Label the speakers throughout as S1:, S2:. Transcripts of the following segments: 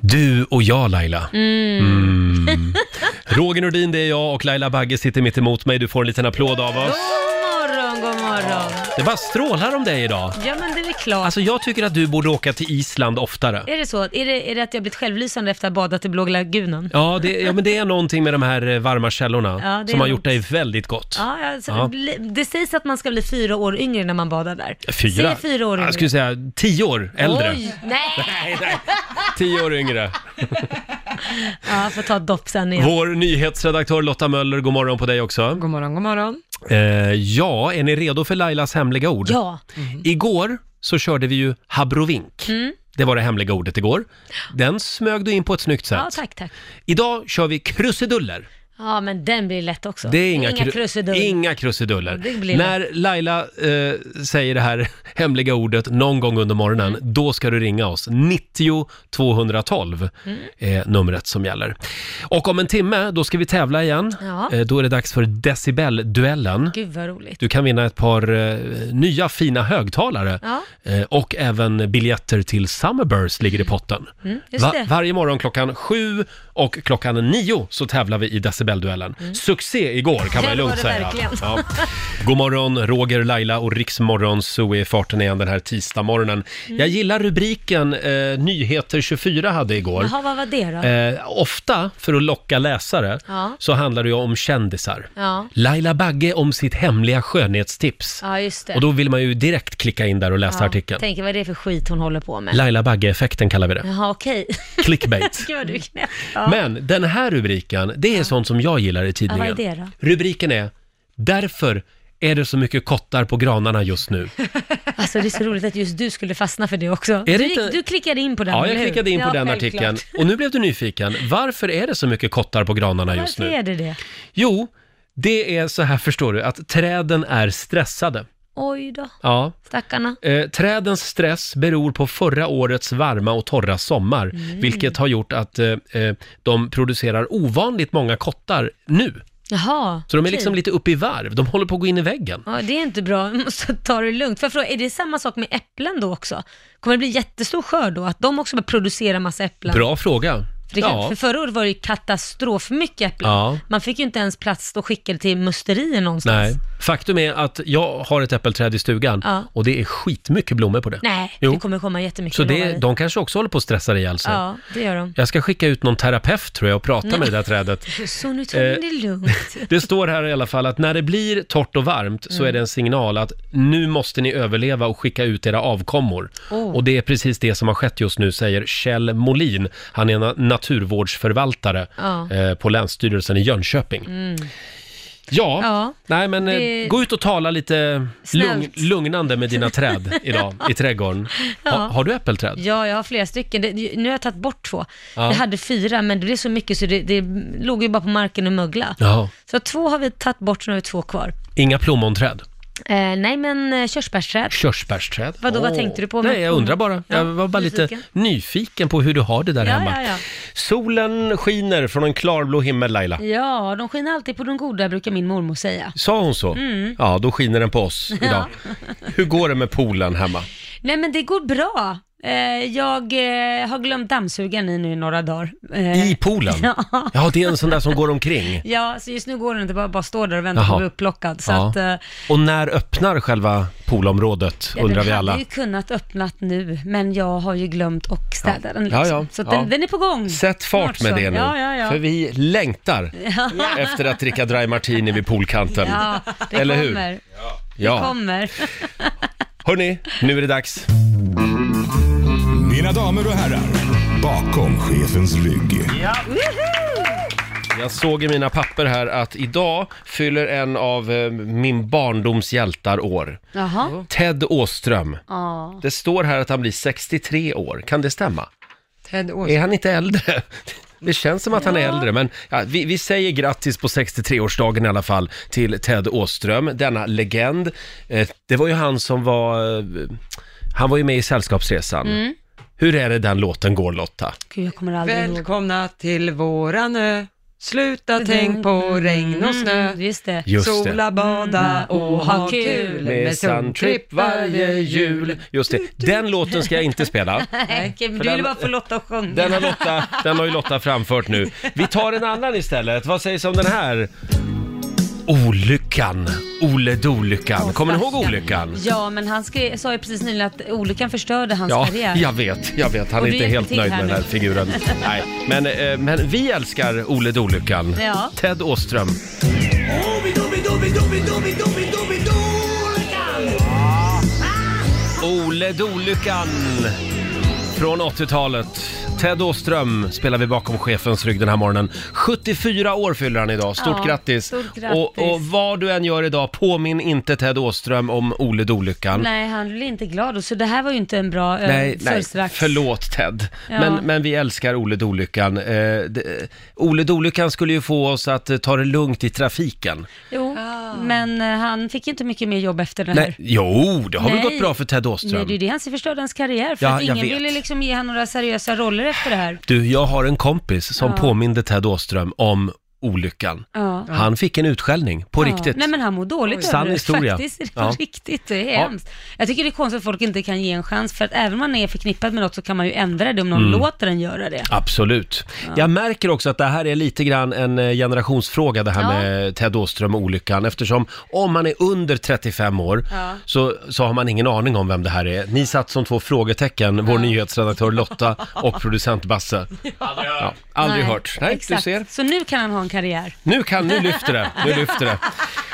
S1: Du och jag Laila. Mm. Roger Nordin, det är jag och Laila Bagge sitter mitt emot mig. Du får en liten applåd av oss.
S2: God morgon, god morgon.
S1: Det bara strålar om dig idag.
S2: Ja, men det är väl klart.
S1: Alltså jag tycker att du borde åka till Island oftare.
S2: Är det så? Är det, är det att jag blivit självlysande efter att ha badat i Blå lagunen?
S1: Ja det, ja, men det är någonting med de här eh, varma källorna
S2: Ja, det är
S1: som har
S2: något.
S1: gjort dig väldigt gott.
S2: Ja, alltså,
S1: Ja.
S2: bli- Det sägs att man ska bli fyra år yngre när man badar där.
S1: Fyra?
S2: Säg fyra år yngre.
S1: Jag skulle säga tio år äldre.
S2: Oj, nej!
S1: Nej, nej. Tio år yngre.
S2: Ja, får ta ett dopp sen igen.
S1: Vår nyhetsredaktör Lotta Möller, god morgon på dig också.
S3: God morgon, god morgon.
S1: Eh, ja, är ni redo för Lailas hemliga ord? Mhm.
S2: Ja,
S1: Igår så körde vi ju habrovink.
S3: Mm.
S1: Det var det hemliga ordet igår. Den smög du in på ett snyggt sätt.
S2: ja tack, tack.
S1: Idag kör vi krusiduller.
S2: Ja, men den blir lätt också.
S1: Det är inga,
S2: inga
S1: kru-
S2: krusiduller.
S1: Inga krusiduller.
S2: Det blir lätt.
S1: När Laila eh, säger det här hemliga ordet någon gång under morgonen,
S2: Mm.
S1: då ska du ringa oss. 90 212
S2: Mm.
S1: är numret som gäller. Och om en timme, då ska vi tävla igen.
S2: Ja.
S1: Eh, då är det dags för decibelduellen.
S2: Gud vad roligt.
S1: Du kan vinna ett par eh, nya fina högtalare
S2: Ja.
S1: eh, och även biljetter till Summerburst ligger i potten.
S2: Mm, just det.
S1: Varje morgon klockan sju och klockan nio så tävlar vi i decibelduellen. Succé igår kan man
S2: Mm. Det var
S1: ju lugnt
S2: det
S1: säga.
S2: verkligen.
S1: Ja. God morgon Roger, Laila och Riksmorgon så är farten igen den här tisdagmorgonen.
S2: Mm.
S1: Jag gillar rubriken eh, Nyheter 24 hade igår.
S2: Jaha, vad var det då?
S1: Eh, ofta, för att locka läsare,
S2: Ja.
S1: så handlar det ju om kändisar.
S2: Ja.
S1: Laila Bagge om sitt hemliga skönhetstips.
S2: Ja, just det.
S1: Och då vill man ju direkt klicka in där och läsa artikeln.
S2: Tänk, vad är det för skit hon håller på med?
S1: Laila Bagge-effekten kallar vi det.
S2: Jaha, okej.
S1: Clickbait.
S2: Gud, vad du är knäpp. Ja.
S1: Men den här rubriken, det är sånt som jag gillar i tidningen.
S2: Ja, vad är det då?
S1: Rubriken är “Därför är det så mycket kottar på granarna just nu”.
S2: Alltså det är så roligt att just du skulle fastna för det också.
S1: det
S2: du,
S1: inte-
S2: gick- du klickade in på den,
S1: Ja,
S2: eller
S1: jag
S2: hur?
S1: klickade in på
S2: Ja,
S1: den
S2: självklart.
S1: artikeln. Och nu blev du nyfiken. Varför är det så mycket kottar på granarna just
S2: Varför
S1: nu?
S2: är det det?
S1: Jo, det är så här förstår du, att träden är stressade.
S2: Oj då,
S1: Ja.
S2: stackarna.
S1: Eh, trädens stress beror på förra årets varma och torra sommar,
S2: Mm.
S1: vilket har gjort att eh, eh, de producerar ovanligt många kottar nu.
S2: Jaha,
S1: Så de är
S2: okej.
S1: liksom lite uppe i varv, de håller på att gå in i väggen.
S2: Ja, det är inte bra. Vi måste ta det lugnt. För jag fråga, är det samma sak med äpplen då också? Kommer det bli jättestor skörd då? Att de också börjar producera massa äpplen?
S1: Bra fråga.
S2: För, det kan, för förra året var det ju katastrof mycket äpplen.
S1: Ja.
S2: Man fick ju inte ens plats och skickade till musterier någonstans.
S1: Nej. Faktum är att jag har ett äppelträd i stugan
S2: Ja.
S1: och det är skitmycket blommor på det.
S2: Nej,
S1: Jo.
S2: det kommer komma jättemycket.
S1: Så
S2: lovar
S1: det,
S2: vi.
S1: de kanske också håller på att stressa ihjäl sig.
S2: Ja, det gör de.
S1: Jag ska skicka ut någon terapeut tror jag och prata med det där trädet.
S2: Så nu tar vi
S1: Eh.
S2: det lugnt.
S1: Det står här i alla fall att när det blir torrt och varmt så är det en signal att nu måste ni överleva och skicka ut era avkommor.
S2: Oh.
S1: Och det är precis det som har skett just nu, säger Kjell Molin. Han är na- naturvårdsförvaltare
S2: Ja.
S1: eh, på Länsstyrelsen i Jönköping.
S4: Mm.
S1: Ja,
S2: Ja.
S1: nej men eh,
S2: Det-
S1: gå ut och tala lite lugn,
S2: Snällt.
S1: lugnande med dina träd idag i trädgården. Ha,
S2: Ja.
S1: Har du äppelträd?
S2: Ja, jag har flera stycken. Det, nu har jag tagit bort två.
S1: Ja.
S2: Jag hade fyra, men det blev så mycket så det, det låg ju bara på marken och mögla.
S1: Jaha.
S2: Så två har vi tagit bort, så nu har vi två kvar.
S1: Inga plommonträd?
S2: Eh, nej, men eh, körsbärsträd.
S1: Körsbärsträd.
S2: Vadå, vad
S1: Åh.
S2: tänkte du på?
S1: Nej, jag undrar bara.
S2: Ja,
S1: jag var bara
S2: nyfiken.
S1: lite nyfiken på hur du har det där
S2: Ja,
S1: hemma.
S2: ja, ja.
S1: Solen skiner från en klarblå himmel, Laila.
S2: Ja, de skiner alltid på de goda, brukar min mormor säga.
S1: Sa hon så?
S2: Mm.
S1: Ja, då skiner den på oss idag. Hur går det med poolen hemma?
S2: Nej, men det går bra. Eh, jag eh, har glömt dammsugaren i nu i några dagar. Eh,
S1: I poolen?
S2: Ja.
S1: ja, det är en sån där som går omkring.
S2: Ja, så just nu går den inte, bara, bara står där och väntar på
S1: Jaha.
S2: att bli upplockad. Så
S1: Ja.
S2: att, eh,
S1: Och när öppnar själva poolområdet,
S2: Ja,
S1: undrar vi
S2: Den
S1: alla.
S2: hade ju kunnat öppnat nu, men jag har ju glömt och städa den. liksom.
S1: Ja, ja,
S2: Så att
S1: ja.
S2: Den, den är på gång.
S1: Sätt fart
S2: Snart
S1: med
S2: så.
S1: det nu,
S2: Ja, ja, ja.
S1: för vi längtar efter att dricka dry martini vid poolkanten.
S2: Ja, det
S1: Eller hur?
S2: kommer. Det
S1: Ja.
S2: kommer.
S1: Hörni, nu är det dags.
S4: Mina damer och herrar, bakom chefens rygg.
S1: Jag såg i mina papper här att idag fyller en av eh, min barndoms hjältar år.
S2: Jaha.
S1: Ted Åström.
S2: Ja.
S1: Det står här att han blir 63 år. Kan det stämma?
S3: Ted
S1: Är
S3: Åström.
S1: han inte äldre? Det känns som att han är äldre, men ja, vi, vi säger grattis på 63-årsdagen i alla fall till Ted Åström, denna legend. Eh, det var ju han som var... Eh, han var ju med i Sällskapsresan. Hur är det den låten går, Lotta?
S2: Gud, jag kommer aldrig ihåg.
S3: Välkomna till våran ö. Sluta tänk på regn och snö.
S2: Mm, just det. Mm.
S1: Just det.
S3: Sola, bada och ha kul med Suntrip varje jul.
S1: Just det, den låten ska jag inte spela.
S2: Nej, du
S1: den-
S2: ville bara få Lotta att sjunga.
S1: Den har, Lotta, den har ju Lotta framfört nu. Vi tar en annan istället. Vad sägs om den här? Olyckan. Ole Dolyckan. Kommer ni ihåg Olyckan?
S2: Ja, men han skrev, sa ju precis nyligen att olyckan förstörde hans
S1: Ja,
S2: karriär.
S1: jag vet, jag vet. Han
S2: Och
S1: är
S2: du
S1: inte
S2: hjälper
S1: helt
S2: till
S1: nöjd
S2: här
S1: med den här
S2: nu.
S1: figuren. Nej, men, eh, men vi älskar Ole Dolyckan.
S2: Ja.
S1: Ted Åström. Ole Dolyckan från 80-talet. Ted Åström spelar vi bakom chefens rygg den här morgonen. 74 år fyller han idag. Stort
S2: Ja,
S1: grattis!
S2: stort grattis.
S1: Och, och vad du än gör idag, påminn inte Ted Åström om Ole Dolyckan.
S2: Nej, han blev inte glad och så det här var ju inte en bra eh,
S1: Nej, nej,
S2: födelsedags-
S1: förlåt Ted.
S2: Ja.
S1: Men, men vi älskar Ole Dolyckan. Eh, det- Ole Dolyckan skulle ju få oss att eh, ta det lugnt i trafiken.
S2: Jo, men eh, han fick inte mycket mer jobb efter det här.
S1: Nej, jo, det har väl
S2: Nej.
S1: gått bra för Ted
S2: Nej,
S1: Åström.
S2: det är det han som förstörde hans karriär, för
S1: Ja,
S2: att ingen
S1: jag vet.
S2: ville liksom ge han några seriösa roller efter det här.
S1: Du, jag har en kompis som påminde Ted Åström om olyckan.
S2: Ja.
S1: Han fick en utskällning, på
S2: Ja.
S1: riktigt.
S2: Nej men han mår dåligt
S1: Sann
S2: över det
S1: historia.
S2: faktiskt. Det är
S1: Ja.
S2: Riktigt, det är
S1: Ja.
S2: hemskt. Jag tycker det är konstigt att folk inte kan ge en chans, för att även om man är förknippad med något så kan man ju ändra det om någon
S1: Mm.
S2: låter en göra det.
S1: Absolut. Jag märker också att det här är lite grann en eh, generationsfråga det här
S2: Ja.
S1: med Ted Åström och olyckan eftersom om man är under 35 år
S2: Ja.
S1: så, så har man ingen aning om vem det här är. Ni satt som två frågetecken, vår nyhetsredaktör Lotta och producent Basse. Aldrig hört. Ja, aldrig hört. Nej,
S2: Exakt.
S1: du ser.
S2: Så nu kan han ha en karriär.
S1: Nu kan, nu lyfter det, nu lyfter det.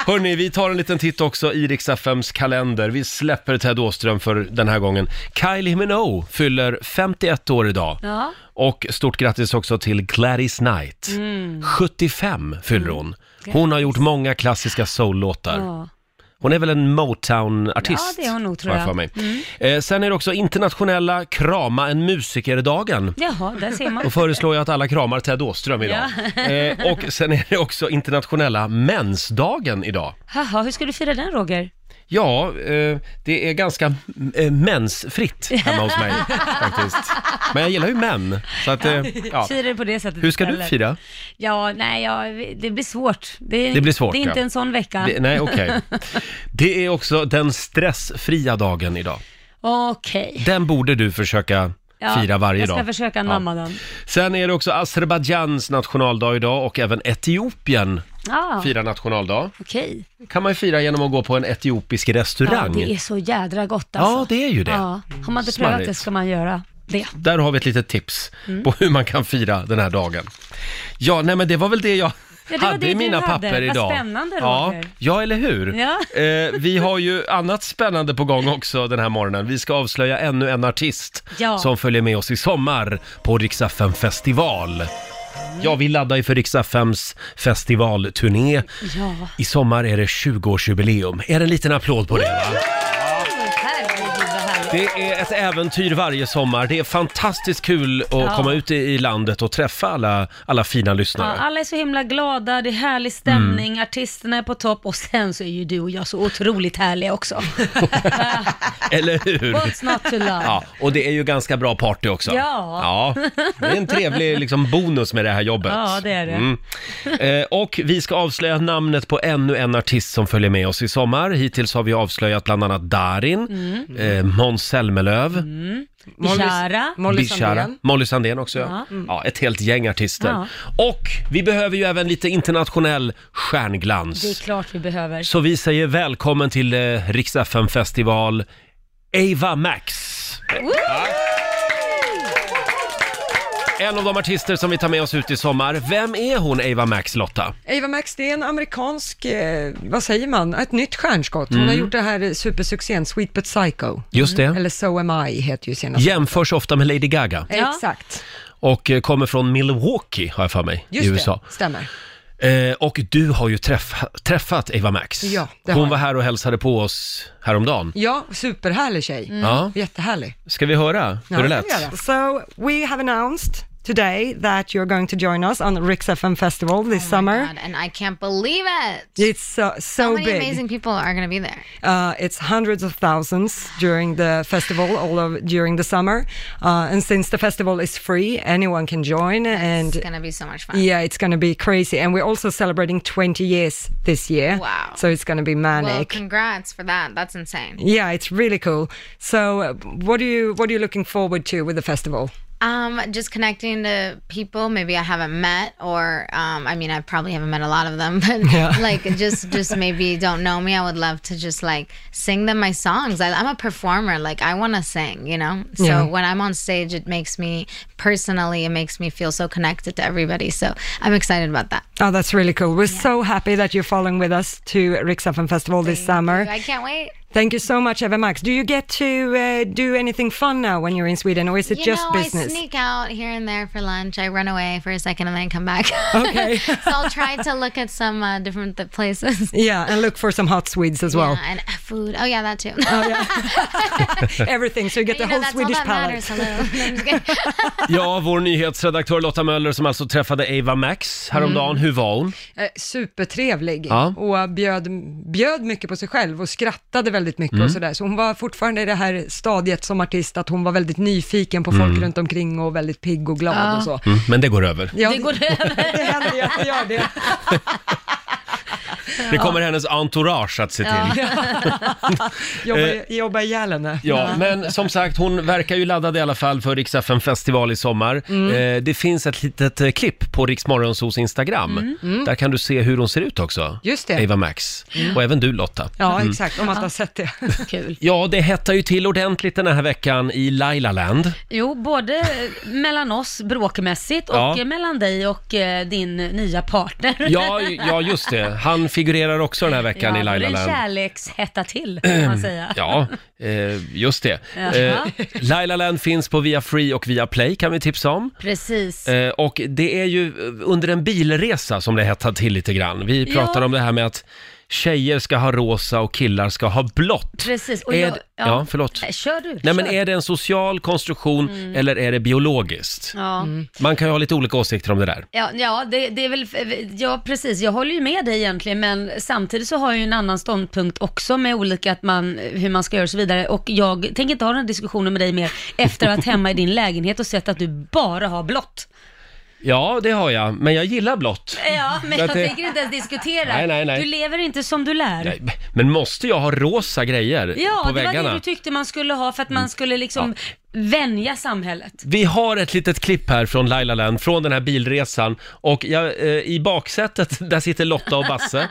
S1: Hörni, vi tar en liten titt också i Rix FMs kalender. Vi släpper Ted Åström för den här gången. Kylie Minogue fyller 51 år idag.
S2: Ja.
S1: Och stort grattis också till Gladys Knight.
S2: Mm.
S5: Mm.
S1: 75 fyller hon. Hon har gjort många klassiska soul-låtar.
S2: Ja.
S1: Hon är väl en Motown-artist?
S2: Ja, det är hon nog, tror
S1: har För
S2: jag. Mm.
S1: mig. Eh, sen är det också internationella krama en musiker-dagen.
S2: Jaha, där ser man.
S1: Då föreslår jag att alla kramar Ted Åström idag. Eh, och sen är det också internationella mensdagen idag.
S2: Haha, hur ska du fira den Roger?
S1: Ja, eh, det är ganska eh, mensfritt hemma hos mig faktiskt. Men jag gillar ju män. Så att, eh, ja.
S2: Fira det på det sättet
S1: Hur ska du
S2: istället.
S1: fira?
S2: Ja, nej, ja, det blir svårt.
S1: Det blir svårt,
S2: Det är inte
S1: ja.
S2: en sån vecka.
S1: Det, nej, okej. Det är också den stressfria dagen idag.
S2: Okej.
S1: Den borde du försöka
S2: Ja,
S1: fira varje
S2: jag
S1: dag.
S2: ska försöka namna den.
S1: Sen är det också Azerbajdzjans nationaldag idag och även Etiopien
S2: Ah,
S1: firar nationaldag.
S2: Okej.
S1: kan man ju fira genom att gå på en etiopisk restaurang.
S2: Ja, det är så jädra gott alltså.
S1: Ja, det är ju det.
S2: Ja, har man inte
S1: Smarrigt.
S2: prövat det ska man göra det.
S1: Där har vi ett litet tips
S2: Mm.
S1: på hur man kan fira den här dagen. Ja, nej men det var väl det jag
S2: det var
S1: hade
S2: det
S1: i
S2: du
S1: mina
S2: hade.
S1: papper
S2: Vad
S1: idag.
S2: spännande,
S1: ja,
S2: Roger.
S1: ja, eller hur?
S2: Ja.
S1: Eh, vi har ju annat spännande på gång också den här morgonen. Vi ska avslöja ännu en artist
S2: Ja.
S1: som följer med oss i sommar på Riksaffen festival.
S2: Mm.
S1: Ja, vi laddar ju för Riksaffems festivalturné.
S2: Ja.
S1: I sommar är det 20-årsjubileum. Är det en liten applåd på det? Va?
S2: Herregud vad härligt.
S1: Det är ett äventyr varje sommar. Det är fantastiskt kul att komma ut i- i landet och träffa alla, alla fina
S2: Ja,
S1: lyssnare.
S2: alla är så himla glada, det är härlig stämning,
S1: Mm.
S2: artisterna är på topp och sen så är ju du och jag så otroligt härliga också.
S1: Eller hur?
S2: What's not to love?
S1: Ja, och det är ju ganska bra party också.
S2: Ja.
S1: Ja, det är en trevlig liksom, bonus med det här jobbet.
S2: Ja, det är det.
S1: Eh, och vi ska avslöja namnet på ännu en artist som följer med oss i sommar. Hittills har vi avslöjat bland annat Darin,
S2: Mm.
S1: eh, Måns Zelmerlöw,
S2: Kära.
S3: Molly
S1: Bishara.
S3: Sandén.
S1: Molly Sandén också, ja.
S2: Ja.
S1: ja. Ett helt gäng artister.
S2: Ja.
S1: Och vi behöver ju även lite internationell
S2: Det är
S1: stjärnglans.
S2: klart vi behöver.
S1: Så vi säger välkommen till eh, Rix FM festival Ava Max. Ja. En av de artister som vi tar med oss ut i sommar. Vem är hon, Ava Max, Lotta?
S3: Ava Max, det är en amerikansk, eh, vad säger man, ett nytt stjärnskott. Hon har gjort det här eh, supersuccén Sweet But Psycho.
S1: Mm. Just det.
S3: Eller So Am I heter ju senaste.
S1: Jämförs ofta med Lady Gaga
S2: Ja.
S3: Exakt,
S1: och eh, kommer från Milwaukee, har jag för mig,
S3: just
S1: i USA.
S3: det, stämmer.
S1: Eh, och du har ju träff, träffat Eva Max.
S3: Ja, det har
S1: Hon
S3: jag.
S1: var här och hälsade på oss häromdagen.
S3: Ja, superhärlig tjej.
S2: Mm.
S1: Ja.
S3: Jättehärlig.
S1: Ska vi höra hur det
S3: Ja,
S1: lät?
S3: det kan vi göra. So we have announced today that you're going to join us on Rix FM Festival this summer.
S6: Oh God, and I can't believe it.
S3: It's so,
S6: How
S3: so
S6: many
S3: big.
S6: amazing people are going to be there?
S3: Uh, it's hundreds of thousands during the festival, all of during the summer. Uh, and since the festival is free, anyone can join.
S6: It's
S3: And
S6: going to be so much fun.
S3: yeah, it's going to be crazy. And we're also celebrating 20 years this year.
S6: Wow.
S3: So it's going to be
S6: Well,
S3: manic.
S6: congrats for that. That's insane.
S3: yeah, it's really cool. So, uh, what are you what are you looking forward to with the festival?
S6: Um, just connecting to people maybe I haven't met, or um, I mean, I probably haven't met a lot of them, but like just just maybe don't know me. I would love to just like sing them my songs. I, I'm a performer. Like I want to sing, you know. So
S3: Yeah.
S6: when I'm on stage, it makes me personally, it makes me feel so connected to everybody. So I'm excited about that.
S3: Oh, that's really cool. We're so happy that you're following with us to Rixaffen Festival this summer.
S6: I can't wait.
S3: Thank you so much, Eva Max. Do you get to uh, do anything fun now when you're in Sweden, or is it
S6: You
S3: just
S6: know,
S3: business?
S6: I sneak out here and there for lunch. I run away for a second and then come back. Okay. so I'll try to look at some uh, different th- places.
S3: Yeah, and look for some hot Swedes as well.
S6: Yeah, and uh, food. Oh yeah, that too.
S3: Everything, so you get the
S6: you know, that's
S3: whole
S6: all
S3: Swedish
S6: that
S3: palette.
S6: matters. Hello. I'm just kidding.
S1: Ja, vår nyhetsredaktör Lotta Möller som alltså träffade Eva Max häromdagen. Hur var hon?
S3: Eh, Supertrevlig
S1: Ja.
S3: och eh, bjöd, bjöd mycket på sig själv och skrattade väldigt mycket
S1: Mm.
S3: och sådär. Så hon var fortfarande i det här stadiet som artist att hon var väldigt nyfiken på folk runt omkring och väldigt pigg och glad och så.
S1: Mm, men det går över.
S3: Ja,
S2: Det går över.
S3: det händer ju att det gör det.
S1: Det kommer hennes entourage att se till. Ja, Eh,
S3: Jobba, jobba ihjäl henne.
S1: men som sagt, hon verkar ju laddad i alla fall för Rix FM festival i sommar. Eh, det finns ett litet eh, klipp på Rix Morgonzos Instagram. Där kan du se hur hon ser ut också.
S3: Just det.
S1: Eva Max. Och även du Lotta. Mm.
S3: Ja, exakt, om man inte har sett det.
S2: Kul.
S1: Ja, det hettar ju till ordentligt den här veckan i Lailaland.
S2: Jo, både mellan oss bråkmässigt och
S1: Ja.
S2: eh, mellan dig och eh, din nya partner.
S1: Ja, ja, just det. Han figurerar också den här veckan
S2: Ja,
S1: i
S2: det är en
S1: Lailaland.
S2: kärlekshetta till, kan man säga.
S1: Ja, eh, just det. Eh,
S2: Jaha.
S1: Lailaland finns på via Free och via Play kan vi tipsa om.
S2: Precis.
S1: Eh, och det är ju eh, under en bilresa som det hettar till lite grann. Vi
S2: Ja.
S1: pratar om det här med att tjejer ska ha rosa och killar ska ha blått.
S2: Precis. Och
S1: Är
S2: jag-
S1: det- ja.
S2: ja.
S1: förlåt.
S2: Nej, Kör du.
S1: Nej, men
S2: kör.
S1: är det en social konstruktion eller är det biologiskt?
S2: Mm. Ja.
S1: Man kan ju ha lite olika åsikter om det där.
S2: Ja, ja, det, det är väl, ja precis, jag håller ju med dig egentligen men samtidigt så har jag ju en annan ståndpunkt också med olika att man, hur man ska göra och så vidare och jag tänker inte ha den här diskussionen med dig mer efter att ha varit hemma i din lägenhet och sett att du bara har blått.
S1: Ja, det har jag, men jag gillar blått.
S2: Ja, men
S1: Så
S2: jag
S1: att det-
S2: tänker inte ens diskutera.
S1: Nej, nej, nej.
S2: Du lever inte som du lär.
S1: Nej, Men måste jag ha rosa grejer
S2: Ja,
S1: på
S2: det
S1: väggarna? Mm.
S2: var det du tyckte man skulle ha för att man skulle liksom vänja samhället.
S1: Vi har ett litet klipp här från Lailaland, från den här bilresan. Och jag, eh, i baksätet, där sitter Lotta och Basse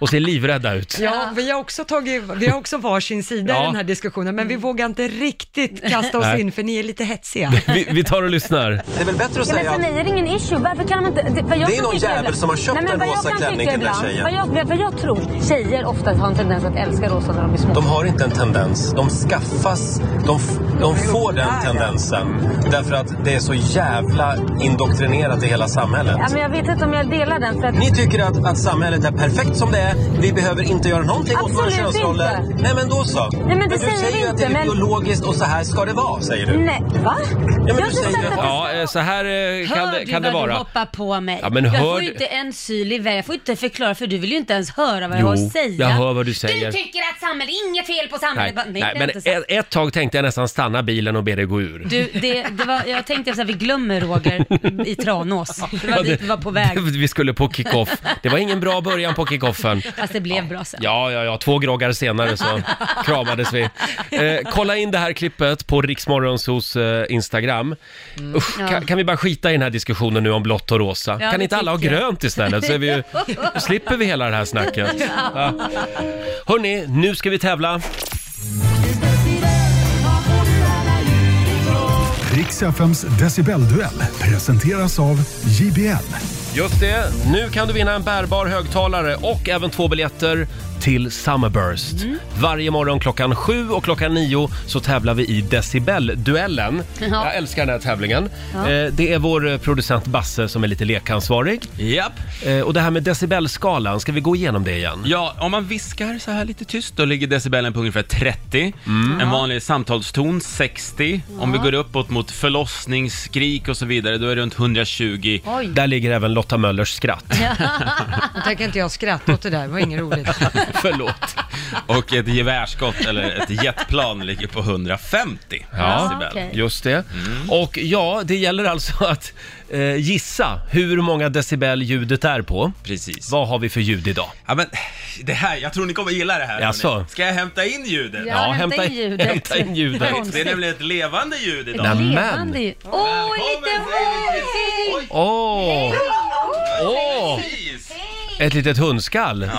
S1: och ser livrädda ut.
S3: Mm. Ja, vi har också tagit, vi har också varsin sida
S1: Ja.
S3: i den här diskussionen, men vi
S7: Mm.
S3: vågar inte riktigt kasta oss
S1: Nej.
S3: in för ni är lite hetsiga.
S1: Vi, vi tar och lyssnar.
S7: Det är väl bättre att
S8: Ja, men
S7: säga
S8: för
S7: att
S8: mig är det ingen issue. Varför kan de inte... Det, för jag
S7: Det är
S8: kan
S7: någon
S8: tycka
S7: jävel
S8: ibland-
S7: som har köpt
S8: Nej, men
S7: en
S8: vad jag
S7: rosa
S8: kan tycka
S7: klänning till den där
S8: ibland-
S7: tjejen.
S8: Vad jag, vad jag tror, tjejer ofta har en tendens att älska rosa när de är små.
S7: de har inte en tendens. De skaffas, de, f- de får den tendensen. Därför att det är så jävla indoktrinerat i hela samhället.
S8: Ja, men jag vet inte om jag delar den. För att,
S7: Ni tycker att, att samhället är perfekt som det är. Vi behöver inte göra någonting åt våra
S8: Absolut
S7: könsroller.
S8: inte.
S7: Nej men då så.
S8: det
S7: du
S8: säger
S7: säger
S8: vi
S7: ju att det är
S8: inte, men-
S7: biologiskt och så här ska det vara, säger du.
S8: nej, va?
S7: men
S8: jag
S7: du
S8: har
S7: säger
S8: sagt
S7: det.
S8: att...
S1: Ja, eh, så här eh, kan,
S2: hör
S1: det- kan
S2: du
S1: det
S2: vad du
S1: vara.
S2: hoppar på mig?
S1: Ja, men
S2: jag
S1: hör
S2: får ju
S1: du-
S2: inte en syl i väg. jag får inte förklara för du vill ju inte ens höra vad jag
S1: Jo,
S2: har att säga.
S1: jag hör vad du säger.
S2: Du tycker att samhället, inget fel på
S1: Nej,
S2: samhället. Bara,
S1: nej,
S2: det är
S1: men
S2: inte sant.
S1: ett, ett tag tänkte jag nästan stanna bilen och be dig gå ur.
S2: Du, det, det var, jag tänkte så här, vi glömmer Roger i Tranås. Det var
S1: Ja,
S2: dit vi var på väg.
S1: Vi skulle på kickoff. Det var ingen bra början på kickoffen.
S2: Fast det blev bra sen.
S1: Ja, ja, ja, två groggar senare så kramades vi. Eh, kolla in det här klippet på Riksmorgonsos eh, Instagram. Usch, kan, kan vi bara skita i den här diskussionen nu om blått och rosa?
S2: Mm. Ja,
S1: kan
S2: det
S1: inte alla ha
S2: tycker jag.
S1: grönt istället så är vi ju, då slipper vi hela det här snacket. Ja. Hörni, nu ska vi tävla.
S4: Riks FMs decibelduell presenteras av JBL.
S1: Just det, nu kan du vinna en bärbar högtalare och även två biljetter till Summerburst.
S2: Mm.
S1: Varje morgon klockan sju och klockan nio så tävlar vi i decibelduellen.
S2: Ja.
S1: Jag älskar den här tävlingen.
S2: Ja.
S1: Eh, Det är vår eh, producent Basse som är lite lekansvarig.
S5: Japp.
S1: Eh, Och det här med decibelskalan, ska vi gå igenom det igen?
S5: Ja, om man viskar så här lite tyst, då ligger decibelen på ungefär 30.
S1: Mm.
S5: En vanlig samtalston 60. Om vi går uppåt mot förlossningsskrik och så vidare, då är det runt 120.
S2: Oj.
S1: Där ligger även Lotta Möllers skratt.
S3: Nu tänker inte jag skratta åt det där, det var inget roligt.
S5: Förlåt. Och ett gevärsskott eller ett jetplan ligger på 150
S1: Ja,
S5: decibel. Mm.
S2: okej.
S1: Just det. Och ja, det gäller alltså att eh, gissa hur många decibel ljudet är på.
S5: Precis.
S1: Vad har vi för ljud idag?
S5: Ja, men det här, jag tror ni kommer gilla det här. hörni.
S1: Jaså?
S5: Ska jag hämta in ljudet?
S2: Ja, hämta in ljudet.
S1: hämta in ljudet.
S2: Konstigt.
S5: Det är nämligen ett levande ljud idag.
S2: Ett
S1: Nämen.
S2: levande ju. Åh, oh, en liten hund!
S5: Oj,
S1: Åh! Åh!
S5: precis!
S1: Ett litet hundskall.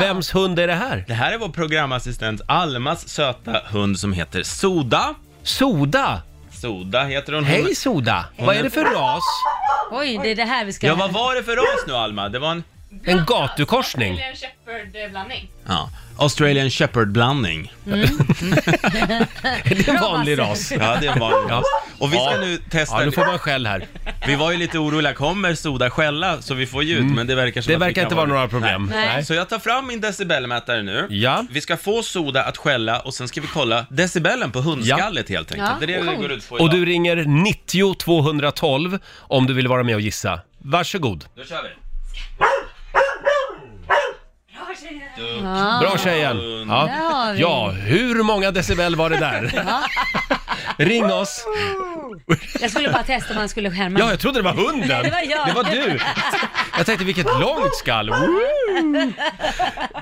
S1: Vems hund är det här?
S5: Det här är vår programassistent Almas söta hund som heter Soda.
S1: Soda!
S5: Soda heter hon.
S1: Hej Soda! Vad är det för ras?
S2: Oj, det är det här vi ska...
S5: Ja, vad var det för ras nu Alma? Det var en...
S1: En gatukorsning?
S5: Ja, Australian Shepherd-blandning.
S1: Är det en vanlig ras?
S5: Ja, det var
S1: Ja.
S5: ja. Och vi ska
S1: Ja.
S5: nu testa...
S1: Ja, nu får man skäll här.
S5: Vi var ju lite oroliga, kommer Soda skälla så vi får ljud? Men det verkar som
S1: Mm. Det
S5: att vi
S1: verkar
S5: kan
S1: inte vara några problem.
S5: Nej.
S2: Nej.
S5: Så jag tar fram min decibelmätare nu.
S1: Ja.
S5: Vi ska få Soda att skälla och sen ska vi kolla decibelen på hundskallet helt enkelt.
S2: Ja,
S5: Det är det det
S2: coolt.
S5: går ut på idag.
S1: Och du ringer 90 212 om du vill vara med och gissa. Varsågod.
S5: Då kör vi.
S1: Bra tjejen! Ja.
S2: Ah. Där har vi.
S1: ja, hur många decibel var det där? Ring oss!
S2: Jag skulle bara testa om han skulle skärma.
S1: Ja, jag trodde det var hunden!
S2: Det var jag.
S1: Det var du! Jag tänkte vilket långt skall! Woo!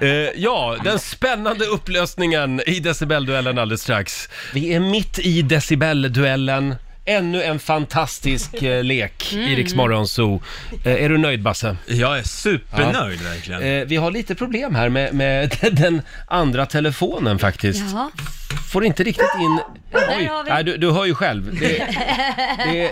S1: Eh, ja, den spännande upplösningen i decibelduellen alldeles strax. Vi är mitt i decibelduellen. Ännu en fantastisk eh, lek i
S2: Mm.
S1: Rix Morgon Zoo. Eh, är du nöjd Basse?
S5: Jag är supernöjd verkligen.
S1: Eh, vi har lite problem här med, med den andra telefonen faktiskt.
S2: Jaha.
S1: Får inte riktigt in... Oj,
S2: har vi-
S1: nej, du, du hör ju själv. Det, det,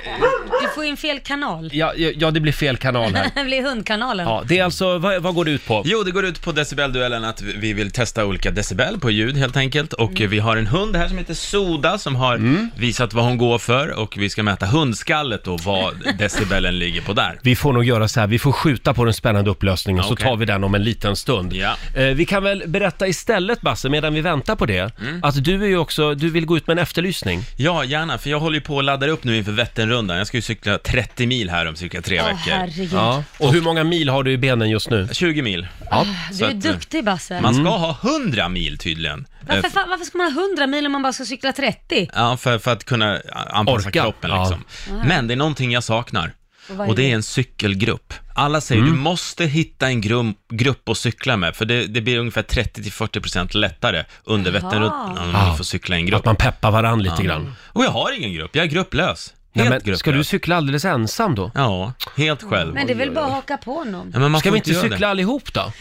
S2: Du får in fel kanal.
S1: ja, ja, det blir fel kanal här.
S2: Det blir hundkanalen.
S1: Ja, det är alltså, vad, vad går det ut på?
S5: Jo, det går ut på decibelduellen att vi vill testa olika decibel på ljud helt enkelt. Och
S1: Mm.
S5: eh, vi har en hund här som heter Soda som har visat vad hon går för och vi ska mäta hundskallet och vad decibelen ligger på där.
S1: Vi får nog göra så här, vi får skjuta på den spännande upplösningen så
S5: Okej.
S1: tar vi den om en liten stund.
S5: Ja.
S1: Eh, vi kan väl berätta istället Basse, medan vi väntar på det, att du är ju också, du vill gå ut med en efterlysning.
S5: Mm. Ja, gärna, för jag håller ju på att ladda upp nu inför Vätternrundan. Jag ska ju cykla 30 mil här om cirka tre
S2: Åh,
S5: veckor.
S2: herregud.
S1: Och hur många mil har du i benen just nu? Mm.
S5: 20 mil.
S2: Ah, Du
S5: så
S2: är
S5: att,
S2: duktig Basse.
S5: Man ska ha 100 mil tydligen.
S2: Varför,
S5: Eh,
S2: fan, varför ska man ha 100 mil om man bara ska cykla 30?
S5: Ja, för, för att kunna anpassa
S1: Orka.
S5: kroppen
S1: Ja. Ah.
S5: liksom. Men det är någonting jag saknar.
S2: Och vad är
S5: Och det
S2: det?
S5: är en cykelgrupp. Alla säger
S1: Mm.
S5: du måste hitta en grum, grupp att cykla med, för det, det blir ungefär 30-40% lättare under Vätternrundan om
S1: Ja.
S5: du får cykla i en
S1: Att
S5: grupp.
S1: man peppar varann lite grann.
S5: Och jag har ingen grupp, jag är grupplös.
S1: Nej,
S5: Helt
S1: men,
S5: grupplös.
S1: ska du cykla alldeles ensam då?
S5: Ja, helt själv.
S2: Men det är väl bara att haka på någon.
S5: Ja, men man
S1: Ska
S5: får
S1: vi inte
S5: göra det.
S1: cykla allihop då?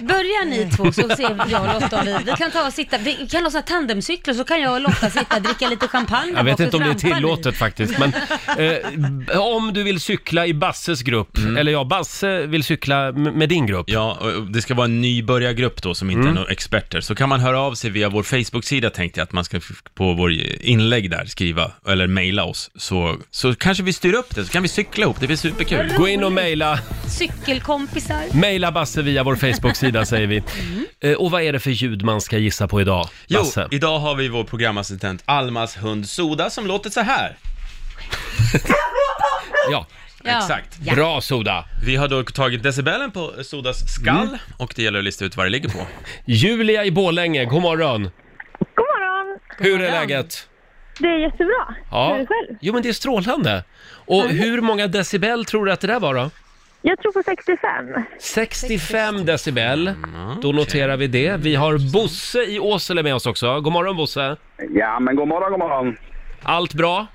S2: Börja ni två så ser jag och Lotta och vi. Vi kan ta och sitta, vi kan ha såna tandemcykler så kan jag och Lotta sitta och dricka lite champagne
S1: Jag vet
S2: bak och
S1: inte om det är
S2: trampa
S1: tillåtet faktiskt, men eh, b- om du vill cykla i Basses grupp,
S5: Mm.
S1: eller ja, Basse eh, vill cykla m- med din grupp. Mm.
S5: Ja, och det ska vara en nybörjargrupp då som inte är några experter. Så kan man höra av sig via vår Facebook-sida tänkte jag att man ska f- på vår inlägg där skriva, eller mejla oss. Så, så kanske vi styr upp det, så kan vi cykla ihop, det blir superkul.
S1: Gå in och mejla,
S2: nu. Cykelkompisar.
S1: mejla Basse via vår Facebook-sida säger vi.
S2: Mm.
S1: Eh, och vad är det för ljud man ska gissa på idag,
S5: Jo,
S1: Basse?
S5: idag har vi vår programassistent Almas hund Soda som låter så här.
S1: Ja,
S2: Ja.
S5: Exakt.
S1: bra Soda! Mm.
S5: Vi har då tagit decibelen på Sodas skall och det gäller att lista ut vad det ligger på.
S1: Julia i Borlänge, god morgon!
S9: God morgon!
S1: Hur är läget?
S9: Det är jättebra. Hur är det själv?
S1: Jo men det är strålande! Och hur många decibel tror du att det där var då?
S9: Jag tror på 65.
S1: 65 decibel, då noterar vi det. Vi har Bosse i Åsele med oss också. God morgon Bosse!
S10: Ja, men god morgon, god morgon.
S1: Allt bra?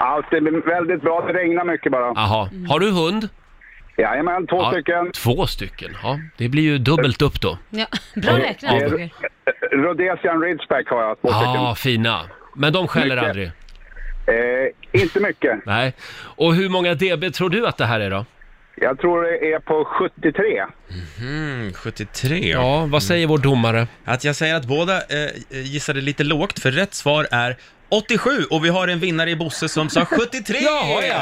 S10: Allt är väldigt bra. Det regnar mycket bara.
S1: Aha. Har du hund?
S10: Jajamän, två
S1: Ja,
S10: stycken.
S1: Två stycken, ja. Det blir ju dubbelt upp då.
S2: Ja. Bra räknat
S1: Ja.
S2: Roger.
S10: Rhodesian Ridgeback har jag, två
S1: Ja,
S10: stycken.
S1: ah, fina. Men de skäller
S10: Mycket.
S1: aldrig.
S10: Eh, inte mycket.
S1: Nej. Och hur många dB tror du att det här är då?
S10: Jag tror det är på 73.
S5: Mhm, 73.
S1: Ja, vad säger vår domare?
S5: Att jag säger att båda eh, gissade lite lågt, för rätt svar är 87 och vi har en vinnare i Bosse som sa 73!
S1: Jaha, ja.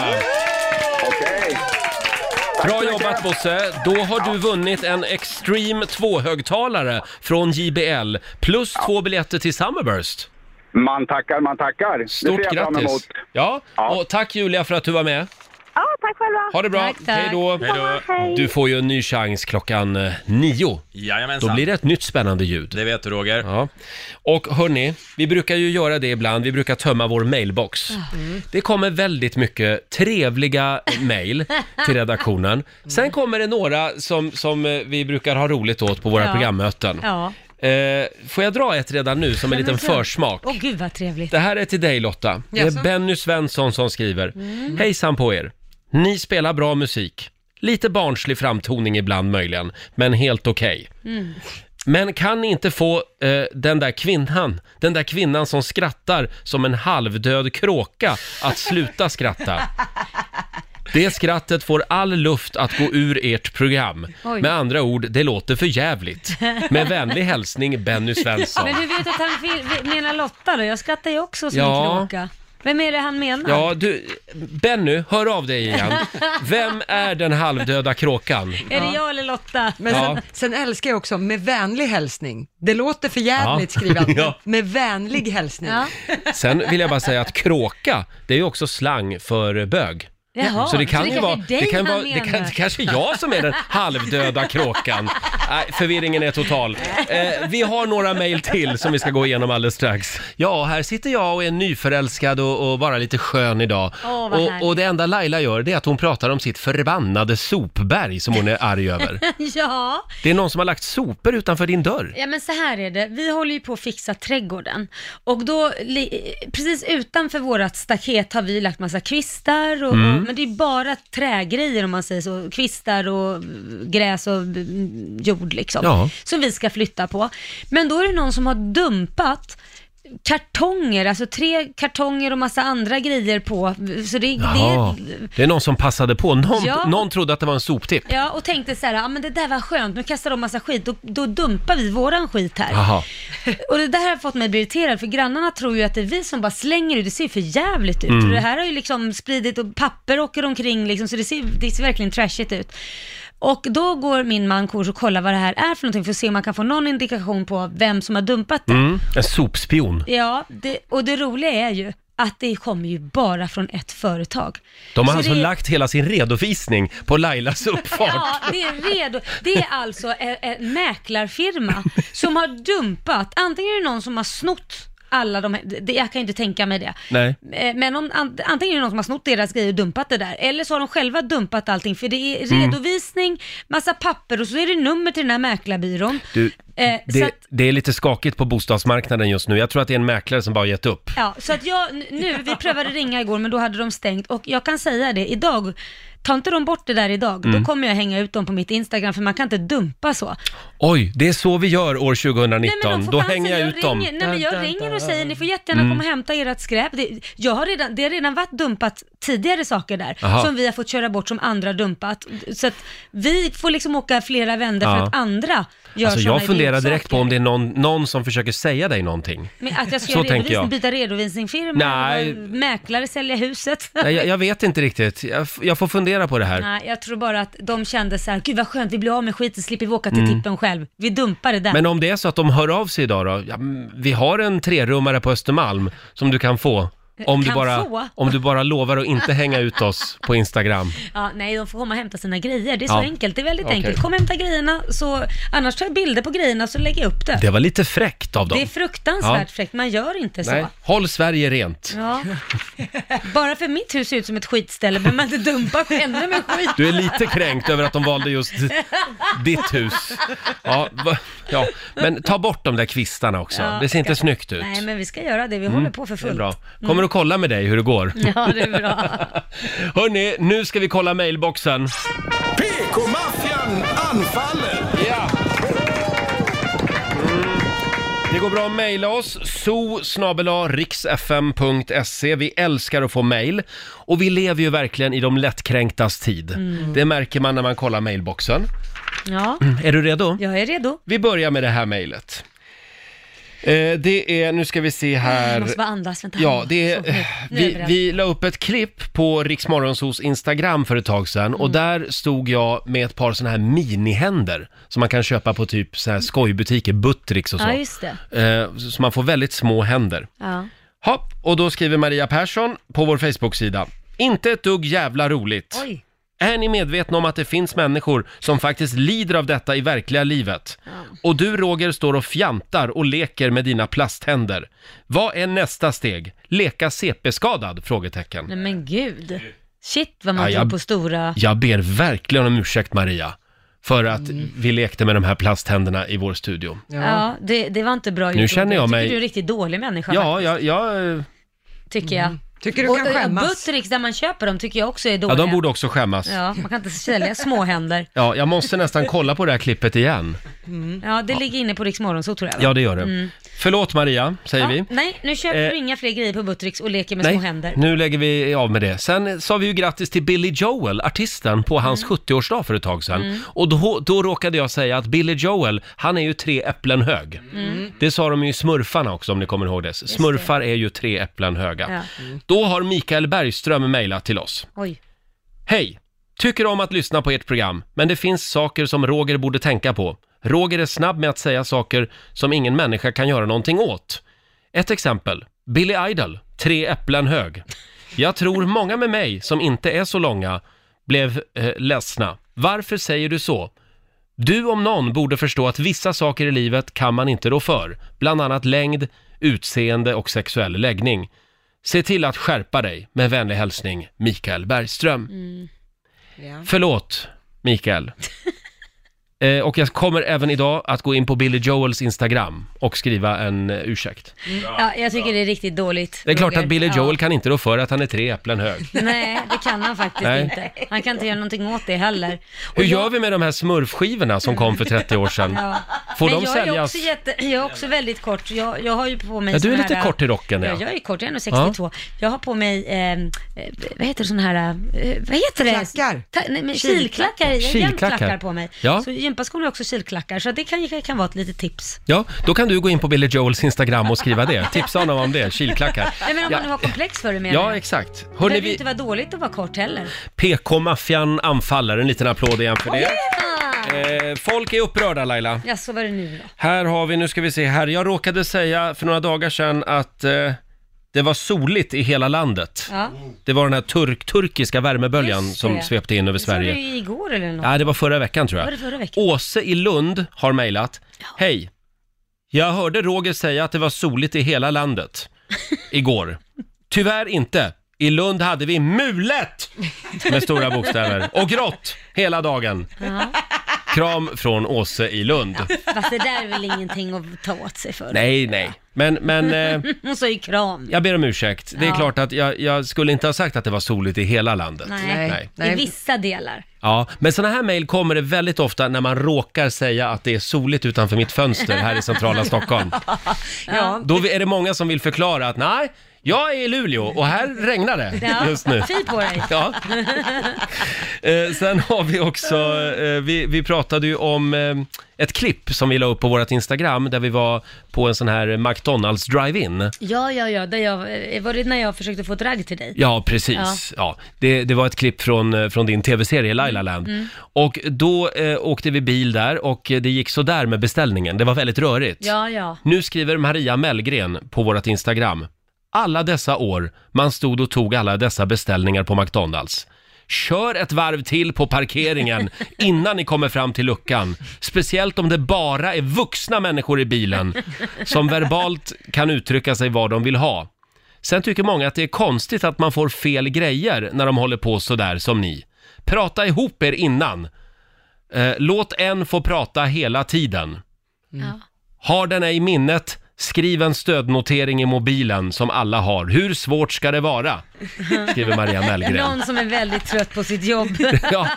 S1: Bra jobbat Bosse! Då har du vunnit en Extreme 2-högtalare från JBL plus två biljetter till Summerburst.
S10: Man tackar, man tackar.
S1: Stort grattis! Ja, och tack Julia för att du var med.
S9: Ja, tack själva.
S1: Ha det bra! Hej då!
S9: Hej.
S1: Du får ju en ny chans klockan eh, nio.
S5: Jajamensan.
S1: Då blir det ett nytt spännande ljud.
S5: Det vet du Roger.
S1: Ja. Och hörni, vi brukar ju göra det ibland, vi brukar tömma vår mailbox.
S2: Ah. Mm.
S1: Det kommer väldigt mycket trevliga mail
S2: Mm.
S1: till redaktionen. Sen kommer det några som, som eh, vi brukar ha roligt åt på våra
S2: Ja.
S1: programmöten.
S2: Ja.
S1: Eh, får jag dra ett redan nu som en
S2: Ja, men
S1: liten
S2: gör-
S1: försmak?
S2: Åh gud vad trevligt.
S1: Det här är till dig Lotta. Det
S2: Jaså?
S1: är Benny Svensson som skriver.
S2: Mm.
S1: Hejsan på er! Ni spelar bra musik. Lite barnslig framtoning ibland möjligen, men helt okej.
S2: Mm.
S1: Men kan ni inte få eh, den där kvinnan, den där kvinnan som skrattar som en halvdöd kråka att sluta skratta? Det skrattet får all luft att gå ur ert program.
S2: Oj.
S1: Med andra ord, det låter för jävligt. Med vänlig hälsning Benny Svensson.
S2: Men du vet att han vill- menar Lotta då? Jag skrattar ju också som
S1: Ja.
S2: en kråka. Vem är det han menar?
S1: Ja, du, Benny, hör av dig igen. Vem är den halvdöda kråkan?
S2: Är det jag eller Lotta?
S3: Men
S1: Ja.
S3: sen, sen älskar jag också med vänlig hälsning. Det låter för jävligt
S1: Ja.
S3: skrivet.
S1: Ja.
S3: Med vänlig hälsning.
S1: Sen vill jag bara säga att kråka, det är ju också slang för bög.
S2: Jaha,
S1: så det
S2: så
S1: kan
S2: det
S1: ju
S2: kanske
S1: vara,
S2: är dig
S1: det kan
S2: han
S1: vara, det kan,
S2: menar.
S1: det kanske är jag som är den halvdöda kråkan. Nej, förvirringen är total. Eh, vi har några mejl till som vi ska gå igenom alldeles strax. Ja, här sitter jag och är nyförälskad och, och bara lite skön idag.
S2: Åh, vad härligt.
S1: och, och det enda Laila gör, det är att hon pratar om sitt förbannade sopberg som hon är arg över.
S2: ja.
S1: Det är någon som har lagt sopor utanför din dörr.
S2: Ja men så här är det, vi håller ju på att fixa trädgården och då, li- precis utanför vårat staket har vi lagt massa kvistar och,
S11: Mm.
S2: och men det är bara trägrejer om man säger så, kvistar och mm, gräs och mm, jord liksom,
S11: Ja.
S2: som vi ska flytta på. Men då är det någon som har dumpat kartonger, alltså tre kartonger och massa andra grejer på, så det,
S1: Jaha,
S2: det
S1: det är någon som passade på. Någon,
S2: Ja.
S1: någon trodde att det var en soptipp.
S2: Ja, och tänkte så här, ja men det där var skönt, nu kastar de massa skit, då, då dumpar vi våran skit här.
S1: Jaha.
S2: Och det där har fått mig att bli irriterad, för grannarna tror ju att det är vi som bara slänger ut, det ser ju för jävligt ut.
S11: Mm.
S2: Och det här har ju liksom spridit och papper åker omkring liksom, så det ser, det ser verkligen trashigt ut. Och då går min man Kors och kollar vad det här är för någonting, för att se om man kan få någon indikation på vem som har dumpat det.
S1: Mm, en sopspion.
S2: Ja, det, och det roliga är ju att det kommer ju bara från ett företag.
S1: De har
S2: Så
S1: alltså
S2: det är-
S1: lagt hela sin redovisning på Lailas uppfart.
S2: Ja, det är redo. Det är alltså en, en mäklarfirma som har dumpat, antingen är det någon som har snott alla de här, det, jag kan ju inte tänka mig det.
S1: Nej.
S2: Eh, Men om, an- antingen är det någon som har snott deras grejer och dumpat det där, eller så har de själva dumpat allting, för det är
S1: Mm.
S2: redovisning, massa papper och så är det nummer till den här mäklarbyrån.
S1: Du,
S2: Eh, så
S1: det,
S2: att,
S1: det är lite skakigt på bostadsmarknaden just nu. Jag tror att det är en mäklare som bara gett upp.
S2: ja, så att jag, n- nu, vi prövade ringa igår men då hade de stängt och jag kan säga det, idag, ta inte de bort det där idag,
S1: Mm.
S2: då kommer jag hänga ut dem på mitt Instagram för man kan inte dumpa så.
S1: Oj, det är så vi gör år 2019.
S2: Nej, men de får
S1: Då
S2: chansen.
S1: hänger jag
S2: jag
S1: ut
S2: ringer,
S1: dem.
S2: Nej, men jag ringer och säger ni får jättegärna
S1: Mm.
S2: komma och hämta ert skräp. Det, jag har redan, det har redan varit dumpat tidigare saker där
S1: Aha.
S2: som vi har fått köra bort som andra dumpat. Så att vi får liksom åka flera vändor för
S1: Ja.
S2: att andra gör
S1: Alltså,
S2: såna
S1: jag funderar
S2: idiotsaker.
S1: direkt på om det är någon, någon som försöker säga dig någonting.
S2: Men att jag ska
S1: Så
S2: göra
S1: tänker
S2: redovisning,
S1: jag.
S2: byta redovisningsfirma,
S1: Nej.
S2: eller vara mäklare, sälja huset.
S1: Nej, jag, jag vet inte riktigt. Jag, f- jag får fundera på det här.
S2: Nej, jag tror bara att de kände så här, gud vad skönt, vi blir av med skiten, slipper vi åka till
S1: Mm.
S2: tippen själv. Vi dumpar det där.
S1: Men om det är så att de hör av sig idag då? Ja, mm, vi har en trerummare på Östermalm som du kan få. Om, du
S2: Eh, Kan
S1: bara,
S2: få?
S1: om du bara lovar att inte hänga ut oss på Instagram.
S2: Ja, nej, de får komma och hämta sina grejer. Det är så
S1: Ja.
S2: enkelt. Det är väldigt
S1: Okej.
S2: enkelt. Kom och hämta grejerna, så, annars tar jag bilder på grejerna så lägger jag upp det.
S1: Det var lite fräckt av dem.
S2: Det är fruktansvärt
S1: Ja.
S2: fräckt. Man gör inte
S1: Nej.
S2: så.
S1: Håll Sverige rent.
S2: Ja. Bara för mitt hus ser ut som ett skitställe behöver man inte dumpa ännu med skit.
S1: Du är lite kränkt över att de valde just ditt hus. Ja, va, ja. men ta bort de där kvistarna också.
S2: Ja,
S1: det ser inte
S2: ska-
S1: snyggt ut. Mm.
S2: Nej, men vi ska göra det. Vi håller på för
S1: Det är
S2: fullt. Mm.
S1: bra. Kommer att kolla med dig hur det går.
S2: Ja, det är bra.
S1: Hörni, nu ska vi kolla mailboxen.
S4: PK-maffian anfaller!
S1: Ja. Det går bra att mejla oss, so riksfm.se. Vi älskar att få mejl. Och vi lever ju verkligen i de lättkränktas tid.
S2: Mm.
S1: Det märker man när man kollar mejlboxen. Mm.
S2: Ja,
S1: Är du redo?
S2: jag är redo.
S1: Vi börjar med det här mejlet. Eh, det är, nu ska vi se Mm. här.
S2: Jag måste bara andas, vänta.
S1: Ja, det
S2: Så, nu-
S1: är,
S2: nu är jag
S1: vi,
S2: beredd.
S1: vi la upp ett klipp på Riksmorgonsos Instagram för ett tag sedan
S2: Mm.
S1: och där stod jag med ett par sådana här minihänder som man kan köpa på typ så här skojbutiker, Buttricks och så.
S2: Ja, just det.
S1: Eh, så man får väldigt små händer.
S2: Ja.
S1: Hopp, och då skriver Maria Persson på vår Facebook-sida. Inte ett dugg jävla roligt.
S2: Oj.
S1: Är ni medvetna om att det finns människor som faktiskt lider av detta i verkliga livet? Och du Roger står och fjantar och leker med dina plasthänder. Vad är nästa steg? Leka CP-skadad? Frågetecken.
S2: Nej men gud. Shit vad man
S1: Mm. Ja,
S2: ja,
S1: jag-
S2: på stora...
S1: Jag ber verkligen om ursäkt Maria, för att
S2: Mm.
S1: vi lekte med de här plasthänderna i vår studio.
S2: Ja, det, det var inte bra
S1: Nu
S2: gjort,
S1: känner
S2: Roger.
S1: jag mig-
S2: tycker du är en riktigt dålig människa
S1: Ja, jag, jag,
S2: faktiskt, tycker jag.
S3: Mm. Tycker du
S2: och,
S3: kan
S2: och
S3: skämmas?
S2: Buttericks där man köper dem tycker jag också är
S1: ja,
S2: dåliga.
S1: de borde också skämmas.
S2: Ja, man kan inte sälja små händer.
S1: Ja, jag måste nästan kolla på det här klippet igen.
S3: Mm.
S2: Ja, det ligger inne på Rix så tror jag. va?
S1: Ja, det gör det.
S2: Mm.
S1: Förlåt Maria, säger vi.
S2: Nej, nu köper
S1: Eh,
S2: du inga fler grejer på Buttericks och leker med små händer.
S1: nu lägger vi av med det. Sen sa vi ju grattis till Billy Joel, artisten, på hans 70-årsdag för ett tag sedan.
S2: Mm.
S1: Och då, då råkade jag säga att Billy Joel, han är ju tre äpplen hög.
S2: Mm.
S1: Det sa de ju i Smurfarna också om ni kommer ihåg det. Smurfar är ju tre äpplen höga.
S2: Ja. Mm.
S1: Då har Mikael Bergström mejlat till oss.
S2: Oj.
S1: Hej! Tycker om att lyssna på ert program, men det finns saker som Roger borde tänka på. Roger är snabb med att säga saker som ingen människa kan göra någonting åt. Ett exempel. Billy Idol, tre äpplen hög. Jag tror många med mig som inte är så långa blev eh, ledsna. Varför säger du så? Du om någon borde förstå att vissa saker i livet kan man inte rå för. Bland annat längd, utseende och sexuell läggning. Se till att skärpa dig. Med vänlig hälsning, Mikael Bergström.
S2: Mm.
S1: Förlåt, Mikael. Eh, och jag kommer även idag att gå in på Billy Joels Instagram och skriva en eh, ursäkt.
S3: Mm.
S2: Ja, jag tycker det är riktigt dåligt.
S1: Det är klart
S2: Roger.
S1: att Billy
S2: Ja.
S1: Joel kan inte rå för att han är tre äpplen hög.
S2: Nej, det kan han faktiskt
S1: Nej.
S2: inte. Han kan inte göra någonting åt det heller.
S1: Hur gör vi med de här smurfskivorna som kom för 30 år sedan?
S2: Ja.
S1: Får
S2: Men
S1: de
S2: jag Är
S1: säljas?
S2: också jätte, jag är också väldigt kort. Jag, jag har ju på mig
S1: Ja, du är
S2: sån
S1: lite
S2: här,
S1: kort i rocken,
S2: ja.
S1: ja.
S2: jag är kort, jag är nog 62. Jag har på mig, eh, eh, vad heter sån här, eh, vad heter det?
S3: Klackar.
S2: Ta, nej, men
S3: Kilklackar.
S2: kilklackar. Jag har jämt
S1: Kilklackar.
S2: klackar på mig.
S1: Ja.
S2: Så gympaskon är också kilklackar, så det kan, kan vara ett litet tips.
S1: Ja, då kan du gå in på Billy Joels Instagram och skriva det. Tipsa honom om det, kilklackar.
S2: Nej, men om man nu
S1: Ja,
S2: har komplex för det menar
S1: ja
S2: jag.
S1: exakt.
S2: Det
S1: Hörrni,
S2: behöver ju
S1: vi...
S2: inte vara dåligt att vara kort heller.
S1: PK-maffian anfaller. En liten applåd igen för det. Eh, folk är upprörda Laila.
S2: Ja, så var det nu då.
S1: Här har vi, nu ska vi se här. Jag råkade säga för några dagar sedan att eh, det var soligt i hela landet.
S2: Ja.
S1: Det var den här turk, turkiska värmeböljan
S2: Just
S1: som
S2: det.
S1: svepte in över
S2: Det Såg du
S1: Sverige.
S2: ju igår eller något?
S1: Nej, det var förra veckan tror jag.
S2: Var det förra veckan?
S1: Åse i Lund har mejlat. Hej! Jag hörde Roger säga att det var soligt i hela landet igår. Tyvärr inte. I Lund hade vi mulet med stora bokstäver och grått hela dagen.
S2: Ja.
S1: Kram från Åse i Lund.
S2: Fast det där är väl ingenting att ta åt sig för?
S1: Nej, nej. Men, men eh,
S2: Hon sa ju kram.
S1: jag ber om ursäkt. Det är
S2: Ja.
S1: klart att jag, jag skulle inte ha sagt att det var soligt i hela landet.
S2: Nej, i vissa delar.
S1: Ja, men sådana här mejl kommer det väldigt ofta när man råkar säga att det är soligt utanför mitt fönster här i centrala Stockholm.
S2: Ja.
S1: Då är det många som vill förklara att nej, jag är i Luleå och här regnar det
S2: Ja,
S1: just nu.
S2: Fy på dig.
S1: Ja. Eh, sen har vi också, eh, vi, vi pratade ju om eh, ett klipp som vi la upp på vårt Instagram där vi var på en sån här McDonalds drive-in.
S2: Ja, ja, ja. Där jag, eh, var det när jag försökte få ett ragg till dig?
S1: Ja, precis. Ja. det, det var ett klipp från, eh, från din tv-serie Laila Land.
S2: Mm.
S1: Och då eh, åkte vi bil där och eh, det gick så där med beställningen. Det var väldigt rörigt.
S2: Ja, ja.
S1: Nu skriver Maria Mellgren på vårt Instagram. Alla dessa år man stod och tog alla dessa beställningar på McDonalds. Kör ett varv till på parkeringen innan ni kommer fram till luckan. Speciellt om det bara är vuxna människor i bilen som verbalt kan uttrycka sig vad de vill ha. Sen tycker många att det är konstigt att man får fel grejer när de håller på sådär som ni. Prata ihop er innan. Eh, låt en få prata hela tiden.
S2: Ja.
S1: Har den ej minnet Skriv en stödnotering i mobilen som alla har. Hur svårt ska det vara? Skriver Maria Mellgren.
S2: Någon som är väldigt trött på sitt jobb.
S1: Ja.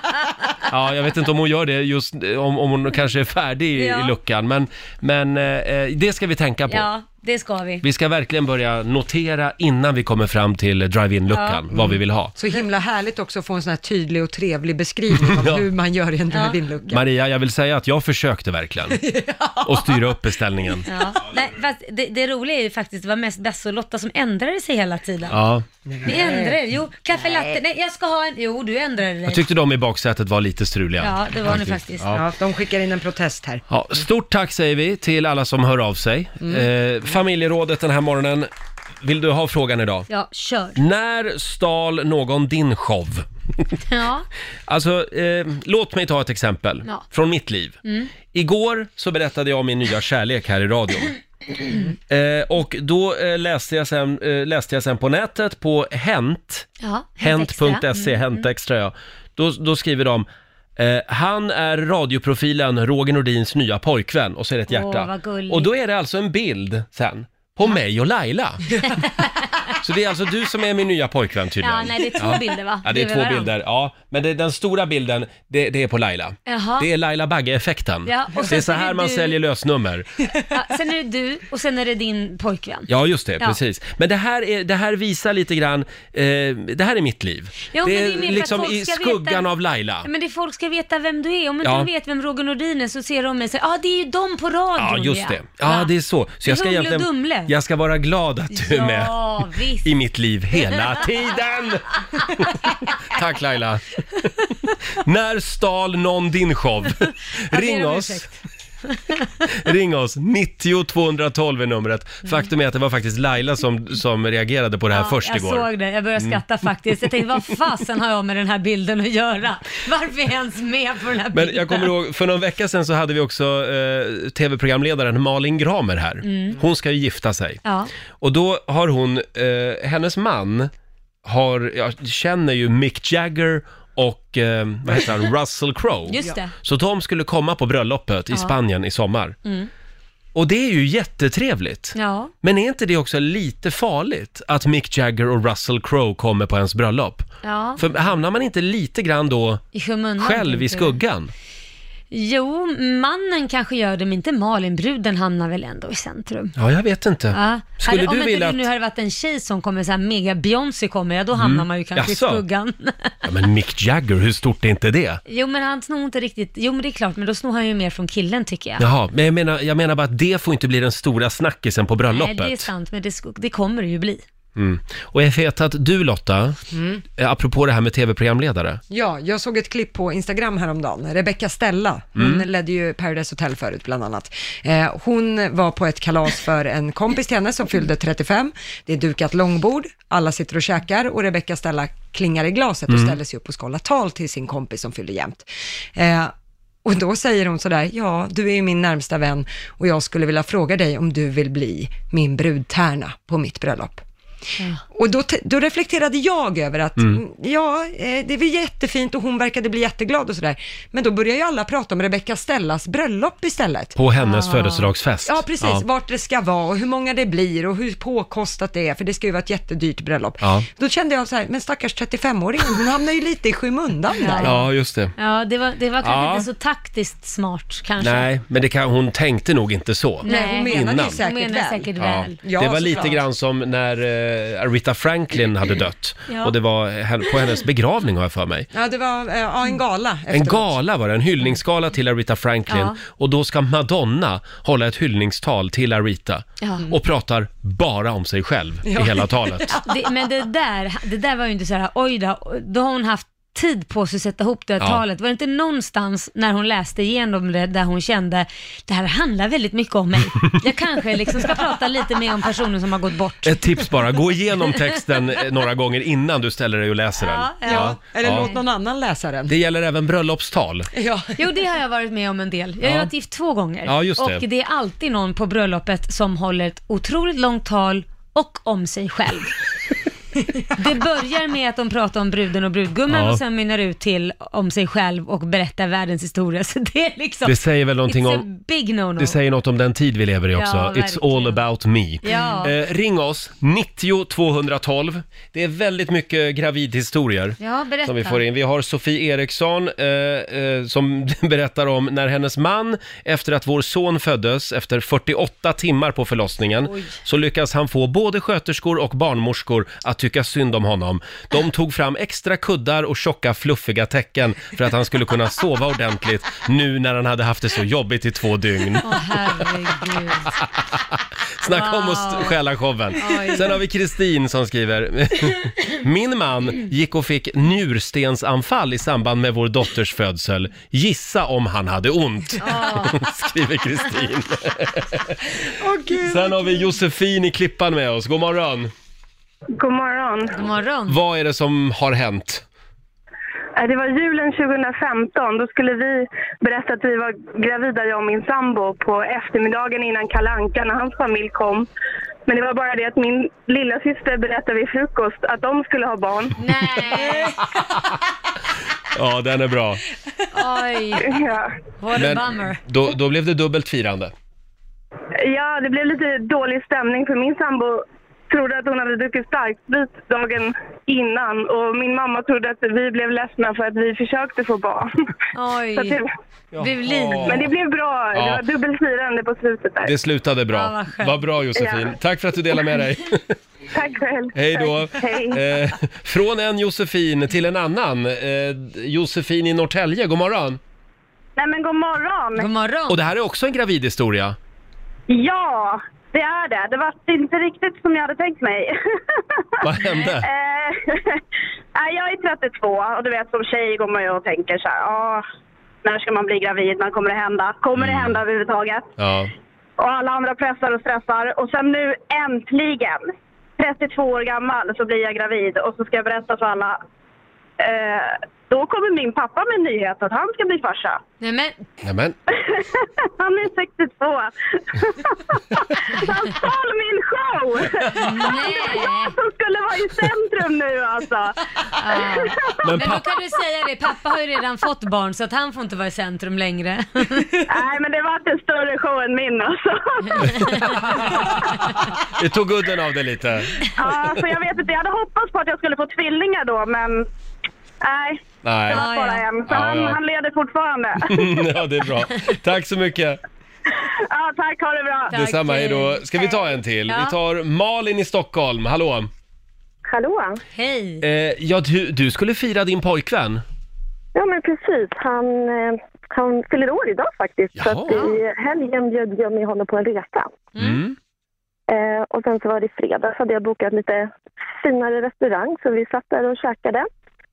S1: Ja, jag vet inte om hon gör det just, om, om hon kanske är färdig i, i
S2: Ja.
S1: luckan, men, men eh, det ska vi tänka på.
S2: Ja, det ska vi.
S1: Vi ska verkligen börja notera innan vi kommer fram till drive-in-luckan,
S3: Ja.
S1: vad vi vill
S2: Mm.
S1: ha.
S3: Så himla härligt också att få en sån här tydlig och trevlig beskrivning av
S1: Ja.
S3: hur man gör i en
S2: Ja.
S3: drive-in-lucka.
S1: Maria, jag vill säga att jag försökte verkligen att styra upp beställningen.
S2: Ja. Nej, fast det, det roliga är ju faktiskt att det var mest Besse och Lotta som ändrade sig hela tiden.
S1: Ja.
S2: Vi ändrade, jo, kaffe latte, nej jag ska ha en, jo du ändrade dig.
S1: Jag tyckte de i baksätet var lite struliga.
S2: Ja, det var ni faktiskt.
S1: Ja.
S3: de skickar in en protest här.
S1: Ja, stort tack säger vi till alla som hör av sig.
S2: Mm.
S1: Eh, familjerådet den här morgonen. Vill du ha frågan idag?
S2: Ja, kör.
S1: När stal någon din show?
S2: Ja.
S1: Alltså, eh, låt mig ta ett exempel
S2: Ja.
S1: från mitt liv.
S2: Mm.
S1: Igår så berättade jag om min nya kärlek här i radion. Eh, och då eh, läste, jag sen, eh, läste jag sen på nätet på Hent,
S2: Ja, Mm.
S1: Hent.se, Hent Extra ja. Då, då skriver de eh, han är radioprofilen Roger Nordins nya pojkvän och så är det ett
S2: Åh,
S1: hjärta.
S2: vad gulligt.
S1: och då är det alltså en bild sen på mig och Laila. så det är alltså du som är min nya pojkvän tydligen.
S2: Ja, nej, det är två bilder, va?
S1: Ja, det är
S2: Bredvid
S1: två
S2: varandra.
S1: bilder. Ja, men det, den stora bilden, det, det är på Laila.
S2: Jaha.
S1: Det är Laila Bagge-effekten.
S2: Ja, och sen
S1: det är
S2: så
S1: så
S2: är det
S1: här man
S2: du.
S1: säljer lösnummer.
S2: Ja, sen är det du och sen är det din pojkvän.
S1: Ja, just det,
S2: Ja.
S1: precis. Men det här, är, det här visar lite grann, eh, det här är mitt liv.
S2: Jo,
S1: det
S2: men
S1: är
S2: mer för att
S1: liksom
S2: folk
S1: i
S2: ska
S1: skuggan
S2: veta-
S1: av Laila.
S2: Ja, Men det är folk ska veta vem du är. Om inte
S1: Ja.
S2: de vet vem Roger Nordin är så ser de mig och säger ja ah, det är ju de på
S1: Ja,
S2: radion
S1: just det. Ja, det är så. Så
S2: Det är
S1: jag ska
S2: Humle och
S1: egentligen,
S2: Dumle.
S1: jag ska vara glad att du är med
S2: Ja, visst.
S1: i mitt liv hela tiden. Tack Laila. När stal någon din show?
S2: Ja, det är
S1: Ring
S2: de
S1: oss.
S2: ursäkt.
S1: Ring oss, 90 212 är numret. Faktum är att det var faktiskt Laila som, som reagerade på det här
S2: Mm. Ja,
S1: först
S2: jag
S1: igår.
S2: såg det, jag började
S1: Mm.
S2: skratta faktiskt. Jag tänkte vad fasen har jag med den här bilden att göra? Varför är jag ens med på den här bilden?
S1: Men jag kommer ihåg, för någon vecka sedan så hade vi också eh, tv-programledaren Malin Gramer här.
S2: Mm.
S1: Hon ska ju gifta sig.
S2: Ja.
S1: Och då har hon, eh, hennes man har, jag känner ju Mick Jagger och eh, vad heter han, Russell Crowe.
S2: Just det.
S1: Så de skulle komma på bröllopet i
S2: Ja.
S1: Spanien i sommar.
S2: Mm.
S1: Och det är ju jättetrevligt.
S2: Ja.
S1: Men är inte det också lite farligt att Mick Jagger och Russell Crowe kommer på ens bröllop?
S2: Ja.
S1: För hamnar man inte lite grann då
S2: I skymundan.
S1: själv i
S2: tänker du.
S1: skuggan?
S2: Jo, mannen kanske gör det, men inte Malin. Bruden hamnar väl ändå i centrum.
S1: Ja, jag vet inte.
S2: Ja.
S1: Skulle
S2: Hade- om
S1: du
S2: inte
S1: vilja
S2: det
S1: att...
S2: nu hade varit en tjej som kommer så här mega Beyoncé kommer, ja då hamnar
S1: Mm.
S2: man ju kanske
S1: Jaså?
S2: i skuggan.
S1: Ja, men Mick Jagger, hur stort är inte det?
S2: jo men han snor inte riktigt, jo men det är klart, men då snor han ju mer från killen tycker jag.
S1: Jaha, men jag menar, jag menar bara att det får inte bli den stora snackisen på
S2: Nej,
S1: bröllopet.
S2: det är sant, men det, sk- det kommer det ju bli.
S1: mm. Och jag vet att du Lotta,
S3: Mm.
S1: eh, apropå det här med tv-programledare,
S3: Ja, jag såg ett klipp på Instagram häromdagen. Rebecca Stella, hon
S1: Mm.
S3: ledde ju Paradise Hotel förut bland annat. Eh, hon var på ett kalas för en kompis till henne som fyllde 35. Det är dukat långbord, alla sitter och käkar och Rebecca Stella klingar i glaset och
S11: Mm.
S3: ställer sig upp och ska hålla tal till sin kompis som fyllde jämt. Eh, och då säger hon sådär, ja, du är ju min närmsta vän och jag skulle vilja fråga dig om du vill bli min brudtärna på mitt bröllop. Och då, te- då reflekterade jag över att,
S11: Mm.
S3: mm. ja, eh, det var jättefint och hon verkade bli jätteglad och sådär. Men då började ju alla prata om Rebecca Stellas bröllop istället.
S1: på hennes Ah. födelsedagsfest.
S3: Ja, precis.
S1: Ja.
S3: Vart det ska vara och hur många det blir och hur påkostat det är, för det ska ju vara ett jättedyrt bröllop.
S1: Ja.
S3: Då kände jag så här, men stackars 35-åringen, hon hamnar ju lite i skymundan där.
S1: ja, just det.
S2: Ja, det var, det var kanske
S1: Ja.
S2: inte så taktiskt smart kanske.
S1: Nej, men det kan, hon tänkte nog inte så.
S2: Nej, hon menade
S1: Innan.
S2: ju säkert Hon menade väl. säkert
S1: Ja.
S2: väl.
S1: det var lite grann som när eh, Aretha Franklin hade dött.
S3: Ja.
S1: Och det var hen- på hennes begravning har jag för mig.
S3: Ja, det var eh, ja, en gala
S1: En
S3: efteråt.
S1: gala var det, en hyllningsgala till Aretha Franklin.
S3: Ja.
S1: Och då ska Madonna hålla ett hyllningstal till Aretha.
S2: Ja.
S1: Och pratar bara om sig själv i hela talet.
S2: Det, men det där, det där var ju inte så här, oj då, då har hon haft tid på sig att sätta ihop det här
S1: Ja.
S2: talet. Var det inte någonstans när hon läste igenom det där hon kände, det här handlar väldigt mycket om mig. Jag kanske liksom ska prata lite mer om personen som har gått bort.
S1: Ett tips bara, gå igenom texten eh, några gånger innan du ställer dig och läser den.
S2: Ja, ja.
S3: Eller
S1: Ja.
S3: låt någon annan läsa den.
S1: Det gäller även bröllopstal.
S2: Jo, det har jag varit med om en del. Jag har
S1: Ja.
S2: ju varit gift två gånger.
S1: Ja, just det.
S2: Och det är alltid någon på bröllopet som håller ett otroligt långt tal och om sig själv. Det börjar med att de pratar om bruden och brudgummen
S1: Ja.
S2: och sen mynnar ut till om sig själv och berättar världens historia. Så det är liksom...
S1: Det säger väl någonting
S2: it's
S1: om-
S2: a big no-no.
S1: Det säger något om den tid vi lever i också.
S2: Ja,
S1: It's all about me.
S2: Ja.
S1: Eh, ring oss, 90 212. Det är väldigt mycket gravidhistorier
S2: Ja, berätta.
S1: som vi får in. Vi har Sofie Eriksson eh, eh, som berättar om när hennes man, efter att vår son föddes, efter 48 timmar på förlossningen, så lyckas han få både sköterskor och barnmorskor att tycka synd om honom. De tog fram extra kuddar och tjocka fluffiga täcken för att han skulle kunna sova ordentligt nu när han hade haft det så jobbigt i två dygn.
S2: Åh herregud.
S1: Snacka om att
S2: Wow.
S1: st- stjäla showen.
S2: Oj.
S1: Sen har vi Kristin som skriver. Min man gick och fick njurstensanfall i samband med vår dotters födsel. Gissa om han hade ont, skriver Kristin. Sen har vi Josefin i Klippan med oss. God morgon.
S9: God morgon.
S2: God morgon.
S1: Vad är det som har hänt?
S9: Äh, Det var julen 2015. Då skulle vi berätta att vi var gravida, jag och min sambo, på eftermiddagen innan Kalle Anka när hans familj kom. Men det var bara det att min lilla syster berättade vid frukost att de skulle ha barn.
S2: Nej.
S1: Ja, den är bra.
S2: Oj.
S9: Ja.
S2: What a bummer.
S1: då, då blev det dubbelt firande.
S9: Ja, det blev lite dålig stämning för min sambo trodde att hon hade druckit starksprit dagen innan och min mamma trodde att vi blev ledsna för att vi försökte få barn.
S2: Oj.
S9: Så att det-
S2: Blev liv.
S9: Men det blev bra.
S1: Ja.
S9: Det var dubbelfirande på slutet där.
S1: Det slutade
S9: Ja,
S1: bra.
S9: vad skönt.
S1: Vad bra Josefin.
S9: Ja.
S1: Tack för att du delade med dig.
S9: Tack själv.
S1: Hej då!
S9: Hej.
S1: Eh, från en Josefin till en annan. Eh, Josefin i Norrtälje, god morgon.
S9: Nej men god morgon.
S2: God morgon.
S1: Och det här är också en gravid historia.
S9: Ja, det är det. Det var inte riktigt som jag hade tänkt mig.
S1: Vad hände?
S9: Eh, nej, jag är 32 och du vet som tjej går man ju och tänker så här, ah, när ska man bli gravid, när kommer det hända? Kommer
S1: Mm.
S9: det hända överhuvudtaget?
S1: Ja.
S9: Och alla andra pressar och stressar. Och sen nu äntligen, 32 år gammal, så blir jag gravid och så ska jag berätta för alla. Eh, då kommer min pappa med nyheten att han ska bli farsa.
S2: Nej men,
S1: Nämen.
S9: Han är 62. Han stal min show!
S2: Nej.
S9: Det var jag som skulle vara i centrum nu alltså.
S2: ja.
S1: Men
S2: men,
S1: pappa-
S2: då kan du säga det, pappa har ju redan fått barn så att han får inte vara i centrum längre.
S9: Nej, men det var en större show än min alltså.
S1: Det tog udden av det lite.
S9: Ja, så jag vet inte. Jag hade hoppats på att jag skulle få tvillingar då, men nej.
S1: Nej.
S9: Det var bara en. Så
S1: Ja,
S9: han,
S1: ja.
S9: han leder fortfarande.
S1: ja, det är bra. Tack så mycket.
S9: ja, tack. Ha det bra.
S1: Detsamma, hej då. Ska vi ta en till?
S9: Ja.
S1: Vi tar Malin i Stockholm, hallå.
S11: Hallå?
S2: Hej.
S1: Eh, ja, du, du skulle fira din pojkvän.
S11: Ja, men precis. Han, eh, han fyller år idag faktiskt. Så att i helgen bjöd jag med honom på en resa.
S1: Mm.
S11: Eh, och sen så var det fredag så hade jag bokat lite finare restaurang så vi satt där och käkade.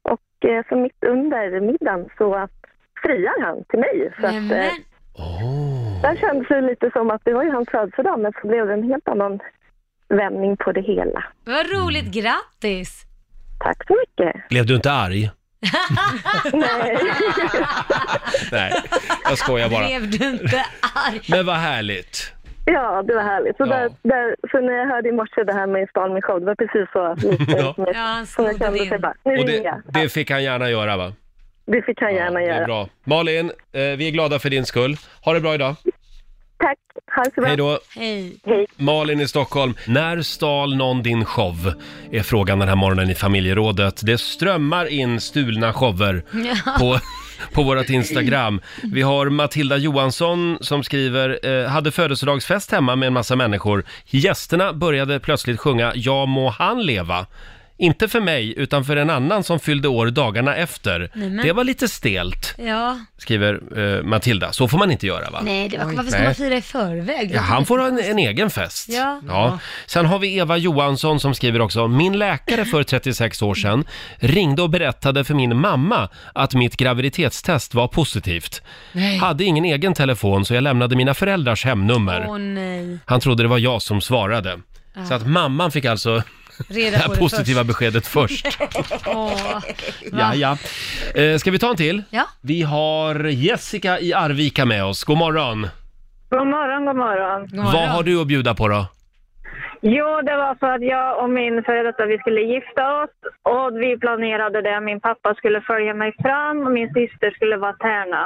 S11: Och eh, så mitt under middagen så friar han till mig. Så att, eh, Där kändes det lite som att det var ju hans födelsedag men så blev det en helt annan vändning på det hela.
S2: Vad roligt,
S1: Mm.
S2: grattis!
S11: Tack så mycket.
S1: Blev du inte arg?
S11: Nej.
S1: Nej, jag skojar bara.
S2: Blev du inte arg?
S1: Men vad härligt.
S11: Ja, det var härligt. Så, där, där, så när jag hörde i morse det här med stal min show, det var precis så lite
S1: Ja.
S11: som, jag, som jag kände. Så jag bara, nu
S1: Och
S11: ringer
S1: det,
S11: jag.
S1: det fick han gärna göra va?
S11: Det fick han gärna
S1: Det är
S11: göra.
S1: bra. Malin, eh, vi är glada för din skull. Ha det bra idag.
S11: Tack, ha det så bra.
S1: Hej då.
S2: Hej.
S1: Malin i Stockholm. När stal någon din show? Är frågan den här morgonen i familjerådet. Det strömmar in stulna shower
S2: Ja.
S1: på, på vårt Instagram. Vi har Matilda Johansson som skriver, eh, hade födelsedagsfest hemma med en massa människor. Gästerna började plötsligt sjunga Ja må han leva. Inte för mig, utan för en annan som fyllde år dagarna efter.
S2: Nämen.
S1: Det var lite stelt,
S2: Ja.
S1: skriver eh, Matilda. Så får man inte göra va?
S2: Nej, det var, varför ska
S1: Nej.
S2: man fira i förväg?
S1: Ja, han får ha en, en egen fest.
S2: Ja.
S1: Ja. Sen har vi Eva Johansson som skriver också, min läkare för 36 år sedan ringde och berättade för min mamma att mitt graviditetstest var positivt.
S2: Nej.
S1: Hade ingen egen telefon så jag lämnade mina föräldrars hemnummer.
S2: Åh nej.
S1: Han trodde det var jag som svarade.
S2: Ja.
S1: Så att mamman fick alltså
S2: Reda
S1: det här
S2: på det
S1: positiva
S2: först.
S1: beskedet först.
S2: Åh.
S1: Ja, ja. Eh, ska vi ta en till?
S2: Ja.
S1: Vi har Jessica i Arvika med oss. God morgon.
S12: God morgon, god morgon.
S1: Vad har du att bjuda på då?
S12: Jo, det var för att jag och min före detta, vi skulle gifta oss och vi planerade det. Min pappa skulle följa mig fram och min syster skulle vara tärna.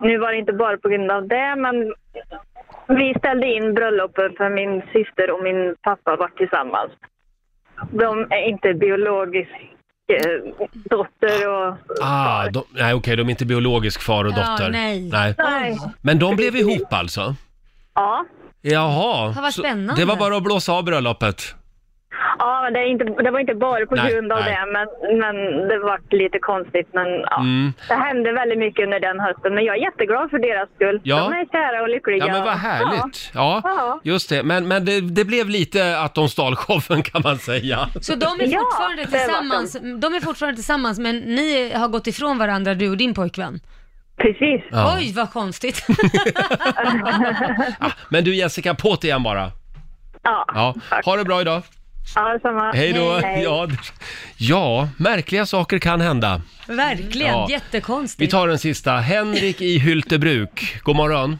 S12: Nu var det inte bara på grund av det, men vi ställde in bröllopet för min syster och min pappa var tillsammans. De är inte biologisk eh, dotter och...
S1: Ah, de, nej okej, de är inte biologisk far och
S12: Ja,
S1: dotter.
S12: nej.
S2: Nej.
S1: Men de blev ihop alltså?
S12: Ja.
S1: Jaha.
S12: Vad
S1: så
S12: spännande.
S1: Det var bara att blåsa av bröllopet.
S12: Ja, men det, är inte, det var inte bara på
S1: Nej,
S12: grund av
S1: nej.
S12: det, men, men det var lite konstigt. Men ja.
S1: Mm.
S12: Det hände väldigt mycket under den hösten, men jag är jätteglad för deras skull.
S1: Ja.
S12: De är kära och lyckliga.
S1: Ja men vad härligt. Ja,
S12: Ja.
S1: just det. Men, men det, det blev lite att de stal showen kan man säga.
S2: Så de är,
S12: Ja,
S2: fortfarande
S12: det var
S2: tillsammans, de är fortfarande tillsammans men ni har gått ifrån varandra, du och din pojkvän?
S12: Precis.
S1: Ja.
S2: Oj, vad konstigt.
S1: Men du Jessica, på det igen bara.
S12: Ja.
S1: Ja, ha det bra idag.
S12: Ja, samma.
S1: Hej då. Ja, d- ja, märkliga saker kan hända.
S2: Verkligen,
S1: Ja. Vi
S2: jättekonstigt.
S1: tar den sista. Henrik i Hyltebruk. God morgon.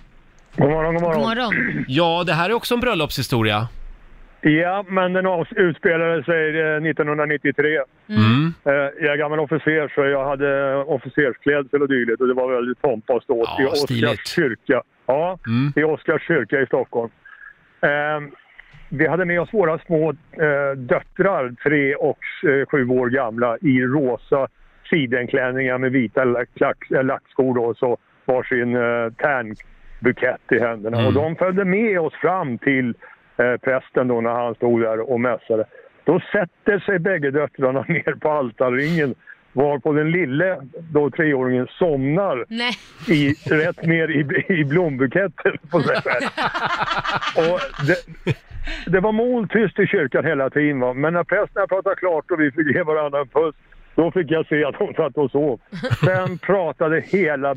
S13: God morgon,
S2: God
S13: god morgon.
S2: morgon.
S1: Ja, det här är också en bröllopshistoria.
S13: Ja, men den avs- utspelade sig eh, 1993.
S1: Mm.
S13: Eh, Jag är gammal officer så jag hade officersklädsel och dylikt och det var väldigt pompa och ståt
S1: Ja,
S13: i Oskars
S1: stiligt. Mm.
S13: kyrka. Ja, i Oskars kyrka i Stockholm. Eh, Vi hade med oss våra små eh, döttrar, tre och eh, sju år gamla, i rosa sidenklänningar med vita lack, lack, eh, lackskor då, och så varsin eh, tärnbukett i händerna.
S14: Mm.
S13: Och de följde med oss fram till eh, prästen då när han stod där och mässade. Då sätter sig bägge döttrarna ner på altarringen varpå den lille, då treåringen, somnar
S2: Nej.
S13: i, rätt ner i, i blombuketten på sig själv. Och det, det var moltyst i kyrkan hela tiden. Va? Men när prästen pratade klart och vi fick ge varandra en puss, då fick jag se att hon satt och sov. Sen pratade hela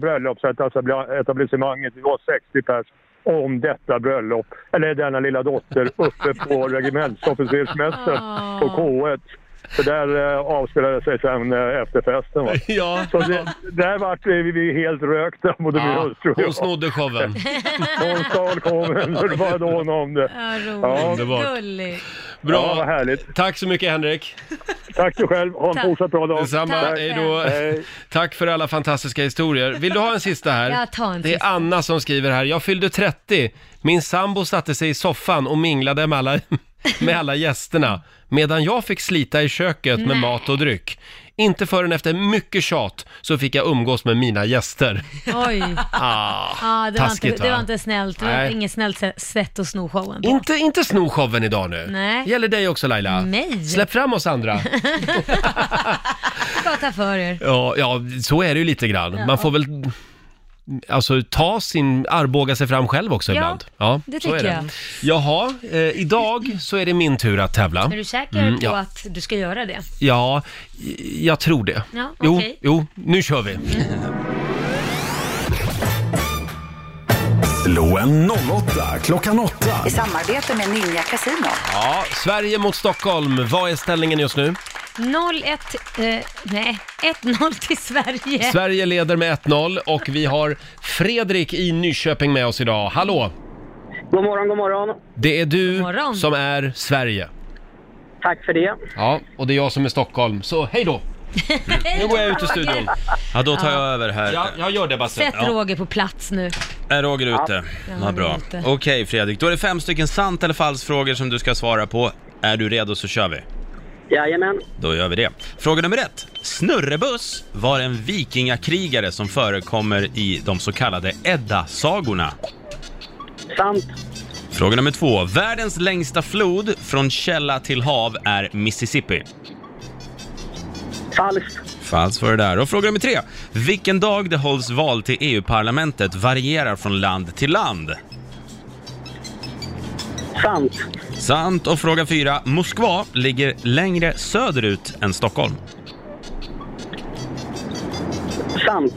S13: bröllopsetablissemanget, vi var 60 pers, om detta bröllop, eller denna lilla dotter, uppe på regementsofficersmässan på K1. Så där eh, avspelade sig sen eh, efterfesten. Va?
S1: Ja.
S13: Så det, där vart vi, vi helt rökta, både min
S1: Ja,
S13: hustru och
S1: hon
S13: jag.
S1: snodde showen.
S13: Hon stal showen, så det var dån om det.
S1: Underbart.
S2: Gulligt.
S1: Mm. Bra.
S13: Ja, vad härligt.
S1: Tack så mycket Henrik.
S13: Tack du själv. Ha en
S2: Tack.
S13: fortsatt bra dag.
S1: Detsamma,
S2: Tack.
S1: hej då. Tack för alla fantastiska historier. Vill du ha en sista här?
S2: Jag tar en
S1: det är Anna som skriver här. Jag fyllde 30. Min sambo satte sig i soffan och minglade med alla, med alla gästerna. Medan jag fick slita i köket med
S2: Nej.
S1: mat och dryck. Inte förrän efter mycket tjat så fick jag umgås med mina gäster.
S2: Oj.
S1: Ah,
S2: Ja, det, var inte,
S1: taskigt
S2: det var
S1: va?
S2: inte snällt. Det var
S1: Nej.
S2: inget snällt sä- sätt att sno showen på.
S1: Inte, inte sno showen idag nu.
S2: Nej.
S1: Gäller dig också Laila.
S2: Nej.
S1: Släpp fram oss andra.
S2: Bara ta för er.
S1: Ja, ja, så är det ju lite grann.
S2: Ja.
S1: Man får väl alltså, ta sin, armbåga sig fram själv också
S2: Ja,
S1: ibland. Ja,
S2: det
S1: så är
S2: tycker
S1: det. Jaha, eh, idag så är det min tur att tävla.
S2: Är du säker
S1: Mm,
S2: på
S1: ja.
S2: att du ska göra det?
S1: Ja, i- jag tror det.
S2: Ja,
S1: jo,
S2: okej.
S1: jo, nu kör vi.
S4: Slå en 08 klockan 8.
S15: I samarbete med Ninja Casino.
S1: Ja, Sverige mot Stockholm. Vad är ställningen just nu?
S2: 0-1, eh, nej, 1-0 till Sverige.
S1: Sverige leder med 1-0 och vi har Fredrik i Nyköping med oss idag. Hallå!
S16: God morgon, god morgon.
S1: Det är du som är Sverige.
S16: Tack för det.
S1: Ja, och det är jag som är Stockholm, så hej då! Nu går jag ut ur studion.
S5: Ja, då tar
S2: Ja.
S5: jag över här.
S1: Ja, jag gör det Basse.
S2: Sätt Roger på plats nu.
S5: Är Roger ute?
S2: Ja,
S5: Vad
S2: han är
S5: bra.
S2: ute.
S5: Okej Fredrik, då är det fem stycken sant eller falskt frågor som du ska svara på. Är du redo så kör vi.
S16: Jajamän.
S5: Då gör vi det. Fråga nummer ett. Snurrebuss var en vikingakrigare som förekommer i de så kallade Edda-sagorna.
S16: Sant.
S5: Fråga nummer två. Världens längsta flod från källa till hav är Mississippi.
S16: Falskt.
S5: Falskt var det där. Och fråga nummer tre. Vilken dag det hålls val till EU-parlamentet varierar från land till land.
S16: Sant.
S5: Sant. Och fråga fyra. Moskva ligger längre söderut än Stockholm.
S16: Sant.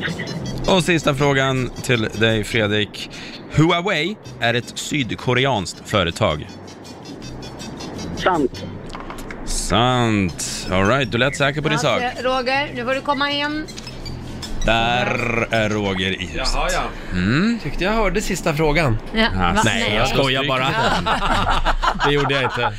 S5: Och sista frågan till dig Fredrik. Huawei är ett sydkoreanskt företag.
S16: Sant.
S5: Sant. Alright, du lät säker på din sak.
S2: Roger, nu får du komma hem.
S5: Där är Roger i huset. Mm.
S1: Jaha, ja. Tyckte jag hörde sista frågan.
S2: Ja, va?
S1: Nej, jag skojar bara. det gjorde jag inte. det är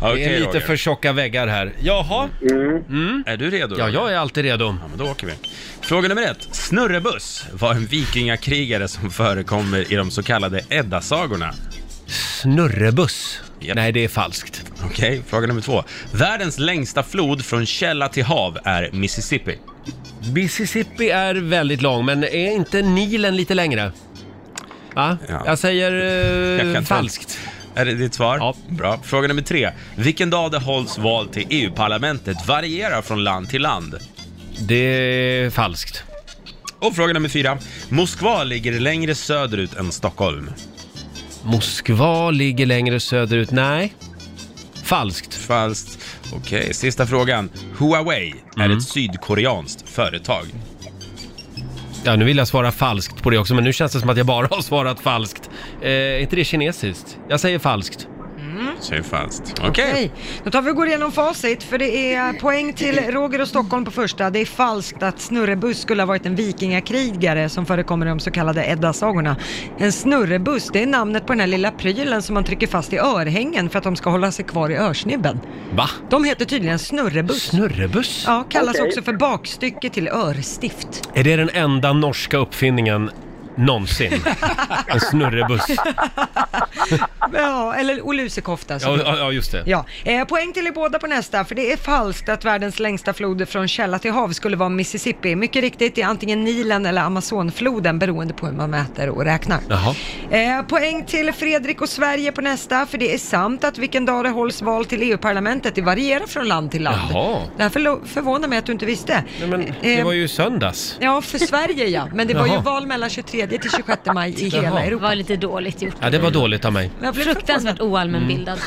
S5: Okej,
S1: lite
S5: Roger.
S1: för tjocka väggar här. Jaha.
S5: Mm. Är du redo?
S1: Mm. Ja, jag är alltid redo.
S5: Ja, men då åker vi. Fråga nummer ett. Snurrebuss var en vikingakrigare som förekommer i de så kallade Edda-sagorna.
S1: Snurrebuss? Nej, det är falskt.
S5: Okej, fråga nummer två. Världens längsta flod från källa till hav är Mississippi.
S1: Mississippi är väldigt lång, men är inte Nilen lite längre? Va? Jag säger eh,
S5: Jag kan inte-
S1: falskt.
S5: Är det ditt svar? Ja. Bra. Fråga nummer tre. Vilken dag det hålls val till EU-parlamentet varierar från land till land.
S1: Det är falskt.
S5: Och fråga nummer fyra. Moskva ligger längre söderut än Stockholm.
S1: Moskva ligger längre söderut. Nej. Falskt.
S5: Falskt. Okej, sista frågan. Huawei är
S1: Mm.
S5: ett sydkoreanskt företag.
S1: Ja, nu vill jag svara falskt på det också, men nu känns det som att jag bara har svarat falskt. Eh, är inte det kinesiskt? Jag säger falskt.
S5: Säger falskt. Okej.
S3: Okej, då tar vi och går igenom facit för det är poäng till Roger och Stockholm på första. Det är falskt att snurrebuss skulle ha varit en vikingakrigare som förekommer i de så kallade Edda-sagorna. En snurrebuss, det är namnet på den här lilla prylen som man trycker fast i örhängen för att de ska hålla sig kvar i örsnibben.
S1: Va?
S3: De heter tydligen snurrebuss.
S1: Snurrebuss?
S3: Ja, kallas
S1: Okej.
S3: också för bakstycke till örstift.
S1: Är det den enda norska uppfinningen någonsin? En snurrebuss.
S3: Ja, eller och lusekofta. som
S1: Ja,
S3: det-
S1: ja, ja, just det.
S3: Ja, eh, poäng till er båda på nästa, för det är falskt att världens längsta flod från källa till hav skulle vara Mississippi. Mycket riktigt, det är antingen Nilen eller Amazonfloden beroende på hur man mäter och räknar.
S1: Jaha.
S3: Eh, poäng till Fredrik och Sverige på nästa, för det är sant att vilken dag det hålls val till EU-parlamentet, det varierar från land till land.
S1: Jaha.
S3: Det här förlo- förvånar mig att du inte visste.
S1: Nej, men det
S3: Eh,
S1: var ju i söndags.
S3: Ja, för Sverige ja, men det var ju
S1: Jaha.
S3: val mellan 23 till 26 maj i
S1: Jaha.
S3: hela Europa.
S2: Det var lite dåligt gjort.
S1: Ja, det var dåligt av mig.
S3: Jag blev
S2: Fruktansvärt oallmänbildad.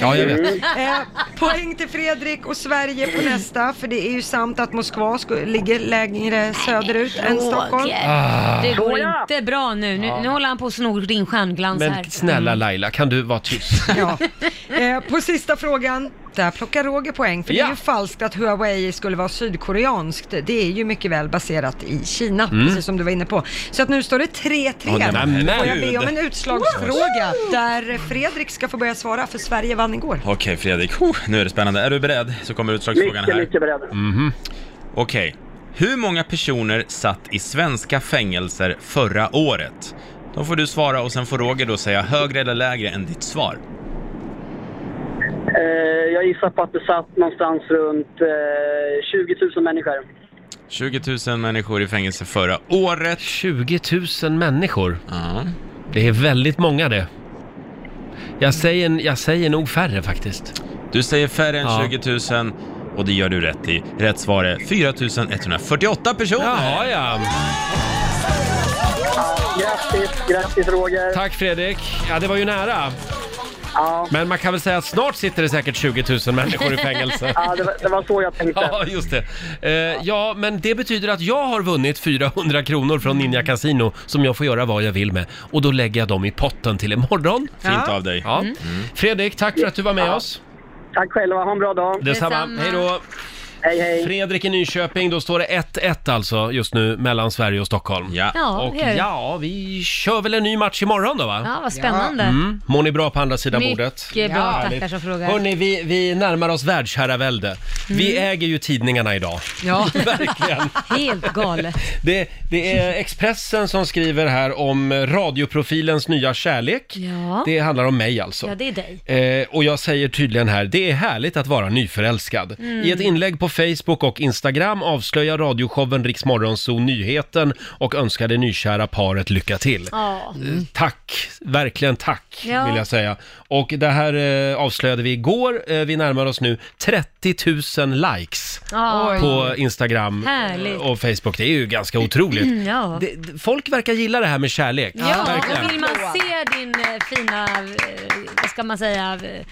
S1: Ja, jag vet.
S3: Eh, poäng till Fredrik och Sverige på nästa, för det är ju sant att Moskva sku- ligger längre söderut än Stockholm.
S2: Roger.
S1: Ah.
S2: Det går
S3: Såja.
S2: inte bra nu. Nu,
S1: Ja.
S2: nu håller han på att sno din stjärnglans här.
S1: Men snälla
S5: Mm.
S1: Laila, kan du vara tyst?
S3: Ja. Eh, på sista frågan, där plockar Roger poäng, för det är
S1: Ja.
S3: ju falskt att Huawei skulle vara sydkoreanskt. Det är ju mycket väl baserat i Kina,
S1: Mm.
S3: precis som du var inne på. Så att nu står det 3-3.
S1: Åh, nej, men
S3: Får jag be
S1: herregud.
S3: om en utslagsfråga där Fredrik ska få börja svara, för Sverige vann igår.
S5: Okej Fredrik, Huh, nu är det spännande. Är du beredd? Så kommer utslagsfrågan
S16: Mycket,
S5: här.
S16: mycket beredd.
S5: Mhm. Okej. Hur många personer satt i svenska fängelser förra året? Då får du svara och sen får Roger då säga högre eller lägre än ditt svar.
S16: Eh, jag gissar på att det satt någonstans runt eh, 20 000 människor.
S5: 20 000 människor i fängelse förra året.
S1: 20 000 människor? Det är väldigt många det. Jag säger, jag säger nog färre faktiskt.
S5: Du säger färre än
S1: Ja.
S5: 20 000 och det gör du rätt i. Rätt svar är 4 148 personer!
S1: Jaha, ja.
S16: Grattis, grattis Roger!
S1: Tack Fredrik. Ja, det var ju nära. Men man kan väl säga att snart sitter det säkert 20 000 människor i fängelse.
S16: ja, det, var, det var så jag tänkte.
S1: Ja, just det. Eh, ja, men det betyder att jag har vunnit 400 kronor från Ninja Casino som jag får göra vad jag vill med. Och då lägger jag dem i potten till imorgon.
S5: Fint Ja. av dig.
S1: Ja.
S5: Mm.
S1: Fredrik, tack för att du var med oss.
S16: Tack själva, ha en bra dag.
S1: Detsamma. Hej då.
S16: Hej, hej.
S1: Fredrik i Nyköping, då står det 1-1 alltså just nu mellan Sverige och Stockholm.
S2: Ja,
S1: och
S2: det gör det.
S1: ja, vi kör väl en ny match imorgon då va?
S2: Ja, vad spännande.
S1: Mm. Mår ni bra på andra sidan
S2: Mycket
S1: bordet?
S2: bra,
S1: Ja.
S2: tackar som frågar. Mm.
S1: Hörni, vi, vi närmar oss världsherravälde. Vi äger ju tidningarna idag.
S2: Ja.
S1: Verkligen.
S2: Helt galet.
S1: Det, det är Expressen som skriver här om radioprofilens nya kärlek.
S2: Ja.
S1: Det handlar om mig alltså.
S2: Ja, det är dig.
S1: Eh, och jag säger tydligen här, det är härligt att vara nyförälskad.
S2: Mm.
S1: I ett inlägg på Facebook och Instagram avslöjar radioshowen Rix Morgonzoo nyheten och önskar det nykära paret lycka till.
S2: Ja.
S1: Eh, Tack, verkligen tack
S2: Ja.
S1: vill jag säga. Och det här eh, avslöjade vi igår, eh, vi närmar oss nu 30 000 likes
S2: Ja.
S1: på Instagram
S2: Härligt. Mm,
S1: eh, och Facebook. Det är ju ganska otroligt.
S2: Ja.
S1: Det- det- Folk verkar gilla det här med kärlek.
S2: Ja,
S1: verkligen.
S2: och vill man se din eh, fina, eh, vad ska man säga, eh,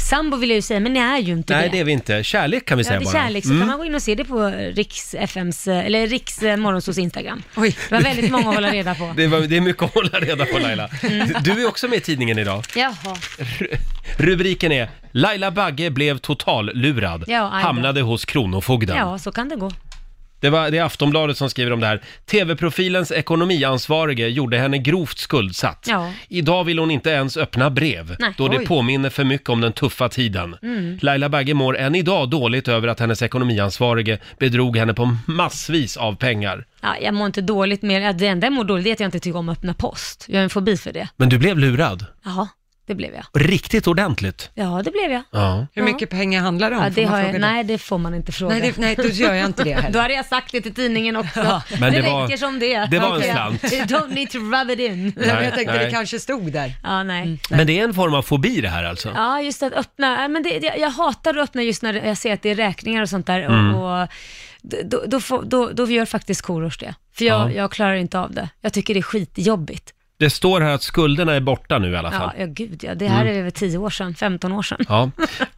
S2: sambo vill jag ju säga, men ni är ju inte
S1: Nej,
S2: det.
S1: det är vi inte. Kärlek kan vi
S2: ja,
S1: säga
S2: det är
S1: bara.
S2: kärlek, så
S1: Mm.
S2: kan man gå in och se det på Riks FMs, eh, eller Riks eh, Morgonzos Instagram. Det var väldigt många att hålla reda på.
S1: Det, var, det är mycket att hålla reda på Laila.
S2: Mm.
S1: Du är också med i tidningen idag.
S2: Jaha.
S1: Rubriken är “Laila Bagge blev totallurad.
S2: Ja, aj då.
S1: hamnade hos Kronofogden”.
S2: Ja, så kan det gå.
S1: Det, var, det är Aftonbladet som skriver om det här. TV-profilens ekonomiansvarige gjorde henne grovt skuldsatt.
S2: Ja.
S1: Idag vill hon inte ens öppna brev,
S2: Nej.
S1: då det
S2: Oj.
S1: påminner för mycket om den tuffa tiden.
S2: Mm.
S1: Laila Bagge mår än idag dåligt över att hennes ekonomiansvarige bedrog henne på massvis av pengar.
S2: Ja, jag mår inte dåligt mer. Ja, Det enda jag mår dåligt är att jag inte tycker om att öppna post. Jag har en fobi för det.
S1: Men du blev lurad.
S2: Jaha, det blev jag.
S1: Riktigt ordentligt.
S2: Ja, det blev jag.
S1: Ja.
S3: Hur mycket pengar handlar det om?
S2: Ja,
S3: Får
S2: det
S3: man
S2: har
S3: fråga
S2: jag,
S3: det?
S2: nej, det får man inte fråga.
S3: Nej, det- nej, då gör jag inte det heller.
S2: då hade jag sagt det till tidningen också.
S1: Men
S2: det,
S1: det var-
S2: räcker som det.
S1: det var en
S2: Okej.
S1: slant.
S2: You don't need to rub it in.
S1: Nej, Jag tänkte nej. det
S2: kanske stod där. Ja, nej.
S3: Mm.
S1: Men det är en form av fobi det här alltså?
S2: Ja, just att öppna. Nej, Men det, det, jag hatar att öppna just när jag ser att det är räkningar och sånt där.
S1: Mm.
S2: Och, och, då, då, får- då, då gör faktiskt Korosh det. För jag,
S1: Ja.
S2: jag klarar inte av det. Jag tycker det är skitjobbigt.
S1: Det står här att skulderna är borta nu i alla fall.
S2: Ja, ja, gud ja. Det här
S1: Mm.
S2: är över 10 år sedan, 15 år sedan.
S1: Ja,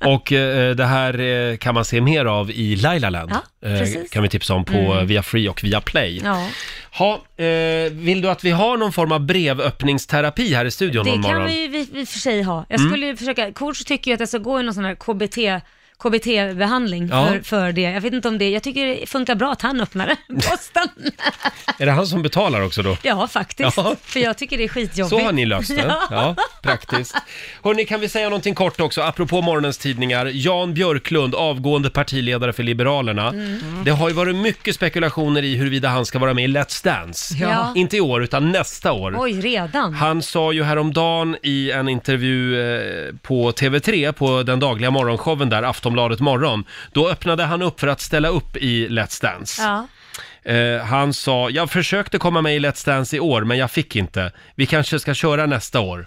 S1: och eh, det här eh, kan man se mer av i Lailaland.
S2: Ja,
S1: Eh,
S2: precis.
S1: kan vi tipsa om på
S2: Mm.
S1: via Free och via Play.
S2: Ja.
S1: Ha, eh, vill du att vi har någon form av brevöppningsterapi här i studion någon
S2: Det kan
S1: morgon?
S2: vi ju vi, vi för sig ha. Jag
S1: Mm.
S2: skulle ju försöka, Kors tycker ju att jag ska gå i någon sån här KBT, KBT-behandling
S1: Ja.
S2: för, för det. Jag vet inte om det, jag tycker det funkar bra att han öppnar den posten.
S1: Är det han som betalar också då?
S2: ja, faktiskt.
S1: Ja.
S2: För jag tycker det är skitjobbigt.
S1: Så har ni löst det.
S2: Ja.
S1: Ja. praktiskt. Hörrni, kan vi säga någonting kort också, apropå morgonens tidningar. Jan Björklund, avgående partiledare för Liberalerna.
S14: Mm.
S1: Det har ju varit mycket spekulationer i huruvida han ska vara med i Let's Dance.
S2: Ja.
S1: Inte i år, utan nästa år.
S2: Oj, redan?
S1: Han sa ju häromdagen i en intervju eh, på TV3, på den dagliga morgonshowen där, Aftonbladet morgon, då öppnade han upp för att ställa upp i Let's Dance.
S2: Ja.
S1: Eh, han sa, jag försökte komma med i Let's Dance i år, men jag fick inte. Vi kanske ska köra nästa år,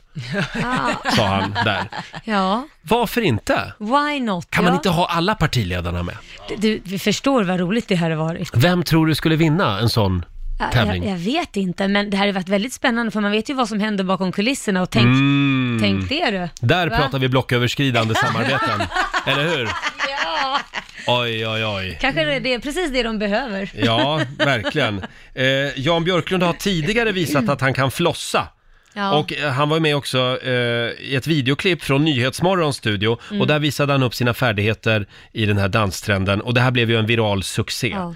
S1: sa han där.
S2: ja,
S1: Varför inte?
S2: why not?
S1: Kan
S2: ja.
S1: man inte ha alla partiledarna med?
S2: Du, vi förstår vad roligt det här har varit.
S1: Vem tror du skulle vinna en sån
S2: Ja,
S1: tävling?
S2: Jag, jag vet inte, men det här har varit väldigt spännande för man vet ju vad som händer bakom kulisserna och tänk,
S1: Mm.
S2: tänk det du.
S1: Där
S2: Va?
S1: pratar vi blocköverskridande samarbeten, eller hur?
S2: Ja,
S1: Oj, oj, oj.
S2: kanske det- det är precis det de behöver.
S1: Ja, verkligen. Eh, Jan Björklund har tidigare visat att han kan flossa.
S2: Ja.
S1: Och eh, han var ju med också eh, i ett videoklipp från Nyhetsmorgons studio
S2: Mm.
S1: och där visade han upp sina färdigheter i den här danstrenden och det här blev ju en viral succé.
S2: Ja.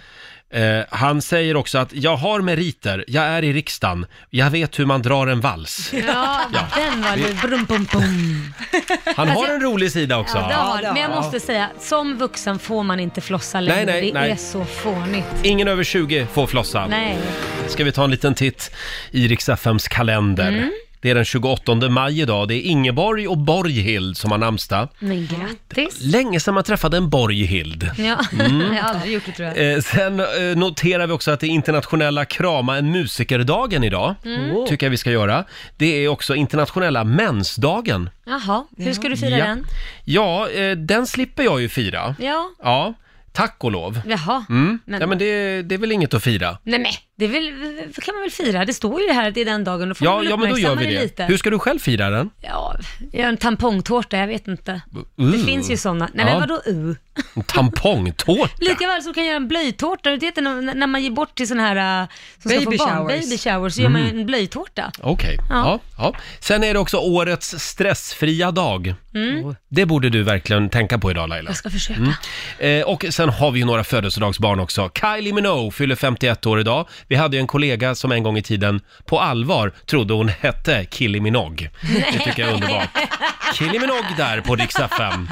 S1: Eh, han säger också att jag har meriter, jag är i riksdagen, jag vet hur man drar en vals.
S2: Ja,
S1: Ja.
S2: den var
S1: Det-
S2: det. Brum, bum, bum.
S1: Han
S2: Alltså,
S1: har en rolig sida också.
S2: Ja, det har det. Men jag måste säga, som vuxen får man inte flossa
S1: Nej,
S2: längre.
S1: nej,
S2: det
S1: nej.
S2: är så fånigt.
S1: Ingen över 20 får flossa.
S2: Nej.
S1: Ska vi ta en liten titt i Rix FMs kalender.
S2: Mm.
S1: Det är den 28 maj idag. Det är Ingeborg och Borghild som har namnsdag.
S2: Men grattis.
S1: Länge sedan man träffade en Borghild.
S2: Ja,
S1: Mm.
S2: jag har aldrig gjort det tror jag.
S1: Eh, sen eh, noterar vi också att det är internationella krama en musikerdagen idag.
S2: Mm.
S1: Tycker jag vi ska göra. Det är också internationella mensdagen.
S2: Jaha, hur ska du fira
S1: Ja.
S2: den?
S1: Ja, eh, den slipper jag ju fira.
S2: Ja,
S1: Ja, tack och lov.
S2: jaha.
S1: Mm.
S2: Men-
S1: Ja, men det, det är väl inget att fira?
S2: Nej, men det är väl, kan man väl fira? Det står ju det här att det är den dagen. Då får man
S1: Ja,
S2: väl
S1: ja, men då gör
S2: uppmärksamma
S1: vi det.
S2: Lite.
S1: Hur ska du själv fira den?
S2: Ja, gör en tampongtårta, jag vet inte. Det
S1: Uh.
S2: finns ju sådana. Nej,
S1: Ja.
S2: men vadå uh?
S1: En tampongtårta?
S2: Lika väl som kan göra en blöjtårta. Du vet när när man ger bort till sådana här äh, som ska
S3: Baby
S2: få barn,
S3: showers.
S2: baby showers, så gör man
S1: Mm.
S2: ju en blöjtårta.
S1: Okej.
S2: Ja.
S1: Ja. Ja, Sen är det också årets stressfria dag.
S2: Mm.
S1: Det borde du verkligen tänka på idag Laila.
S2: Jag ska försöka.
S1: Mm. Eh, och sen har vi ju några födelsedagsbarn också. Kylie Minogue fyller 51 år idag. Vi hade ju en kollega som en gång i tiden på allvar trodde hon hette Kylie Minogue. Det tycker jag är underbart. Kylie Minogue där på Rix FM.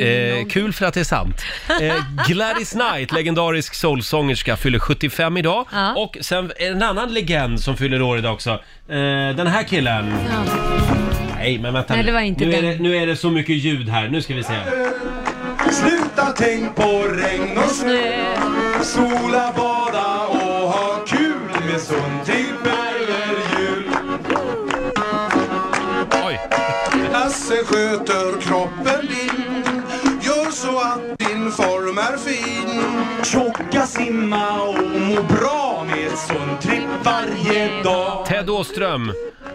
S1: Eh, kul för att det är sant. Eh, Gladys Knight, legendarisk soulsångerska, fyller 75 idag.
S2: Ja.
S1: Och sen en annan legend som fyller år idag också. Eh, den här killen. Nej, men vänta
S2: Nej,
S1: nu.
S2: det var inte
S1: nu, är
S2: den.
S1: det, nu är det så mycket ljud här. Nu ska vi se.
S17: Sluta tänk på regn och snö Sola, bada och ha kul med Sundin eller jul
S1: Oj!
S17: Lasse sköter kroppen din Gör så att din form är fin Tjocka, simma och må bra med ett sunt tripp varje dag
S1: Ted Åström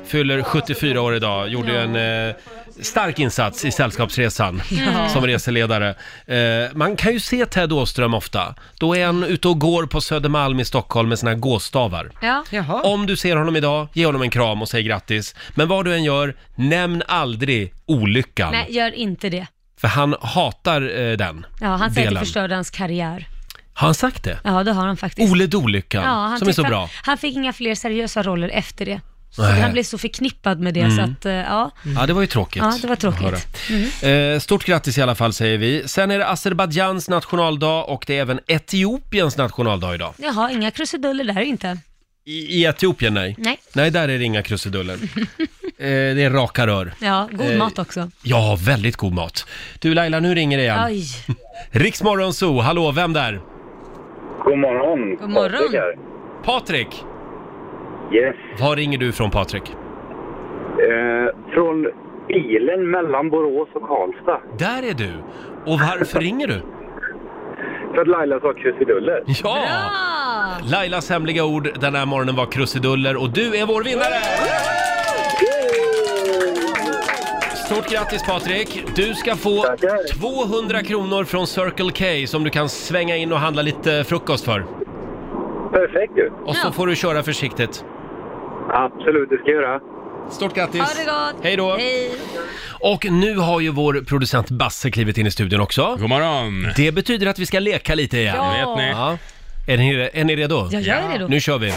S1: fyller 74 år idag. Gjorde ju en eh, stark insats i Sällskapsresan
S17: Ja.
S1: som reseledare. Eh, man kan ju se Ted Åström ofta. Då är han ute och går på Södermalm i Stockholm med sina gåstavar.
S2: Ja.
S1: Om du ser honom idag, ge honom en kram och säg grattis. Men vad du än gör, nämn aldrig olyckan.
S2: Nej, gör inte det.
S1: För han hatar eh, den
S2: Ja, han säger att
S1: delen.
S2: det förstörde hans karriär.
S1: Har han sagt det?
S2: Ja, det har han faktiskt.
S1: Ole Dolyckan, som är
S2: tyckte
S1: så
S2: han-
S1: bra.
S2: Han fick inga fler seriösa roller efter det. Så
S1: Nej.
S2: han blev så förknippad med det
S1: Mm.
S2: så att, eh, ja.
S1: Ja, det var ju tråkigt.
S2: Ja, det var tråkigt.
S1: att höra.
S2: Mm.
S1: Eh, Stort grattis i alla fall säger vi. Sen är det Azerbajdzjans nationaldag och det är även Etiopiens nationaldag idag.
S2: Jaha, inga krusiduller där inte.
S1: I, i Etiopien, nej.
S2: Nej.
S1: Nej, där är det inga krusiduller. eh, det är raka rör.
S2: Ja, god
S1: Eh,
S2: mat också.
S1: Ja, väldigt god mat. Du Laila, nu ringer det igen.
S2: Oj.
S1: Riksmorgon Zoo, hallå, vem där?
S14: God morgon.
S2: God morgon. Patrik här.
S1: Patrik!
S14: Yes.
S1: Var ringer du från Patrik?
S14: Eh, från bilen mellan Borås och Karlstad.
S1: Där är du! Och varför ringer du?
S14: För att Laila sa krusiduller.
S1: Ja! Lailas hemliga ord den här morgonen var krusiduller och du är vår vinnare! Stort grattis Patrik! Du ska få 200 kronor från Circle K som du kan svänga in och handla lite frukost för.
S14: Perfekt ju.
S1: Och så får du köra försiktigt.
S14: Absolut, det ska jag göra.
S1: Stort grattis!
S2: Ha det gott!
S1: Hej då! Och nu har ju vår producent Basse klivit in i studion också. God morgon. Det betyder att vi ska leka lite igen.
S2: Ja. Vet ni.
S1: Ja. Är, ni, är ni redo?
S2: Ja, jag är redo.
S1: Nu kör vi.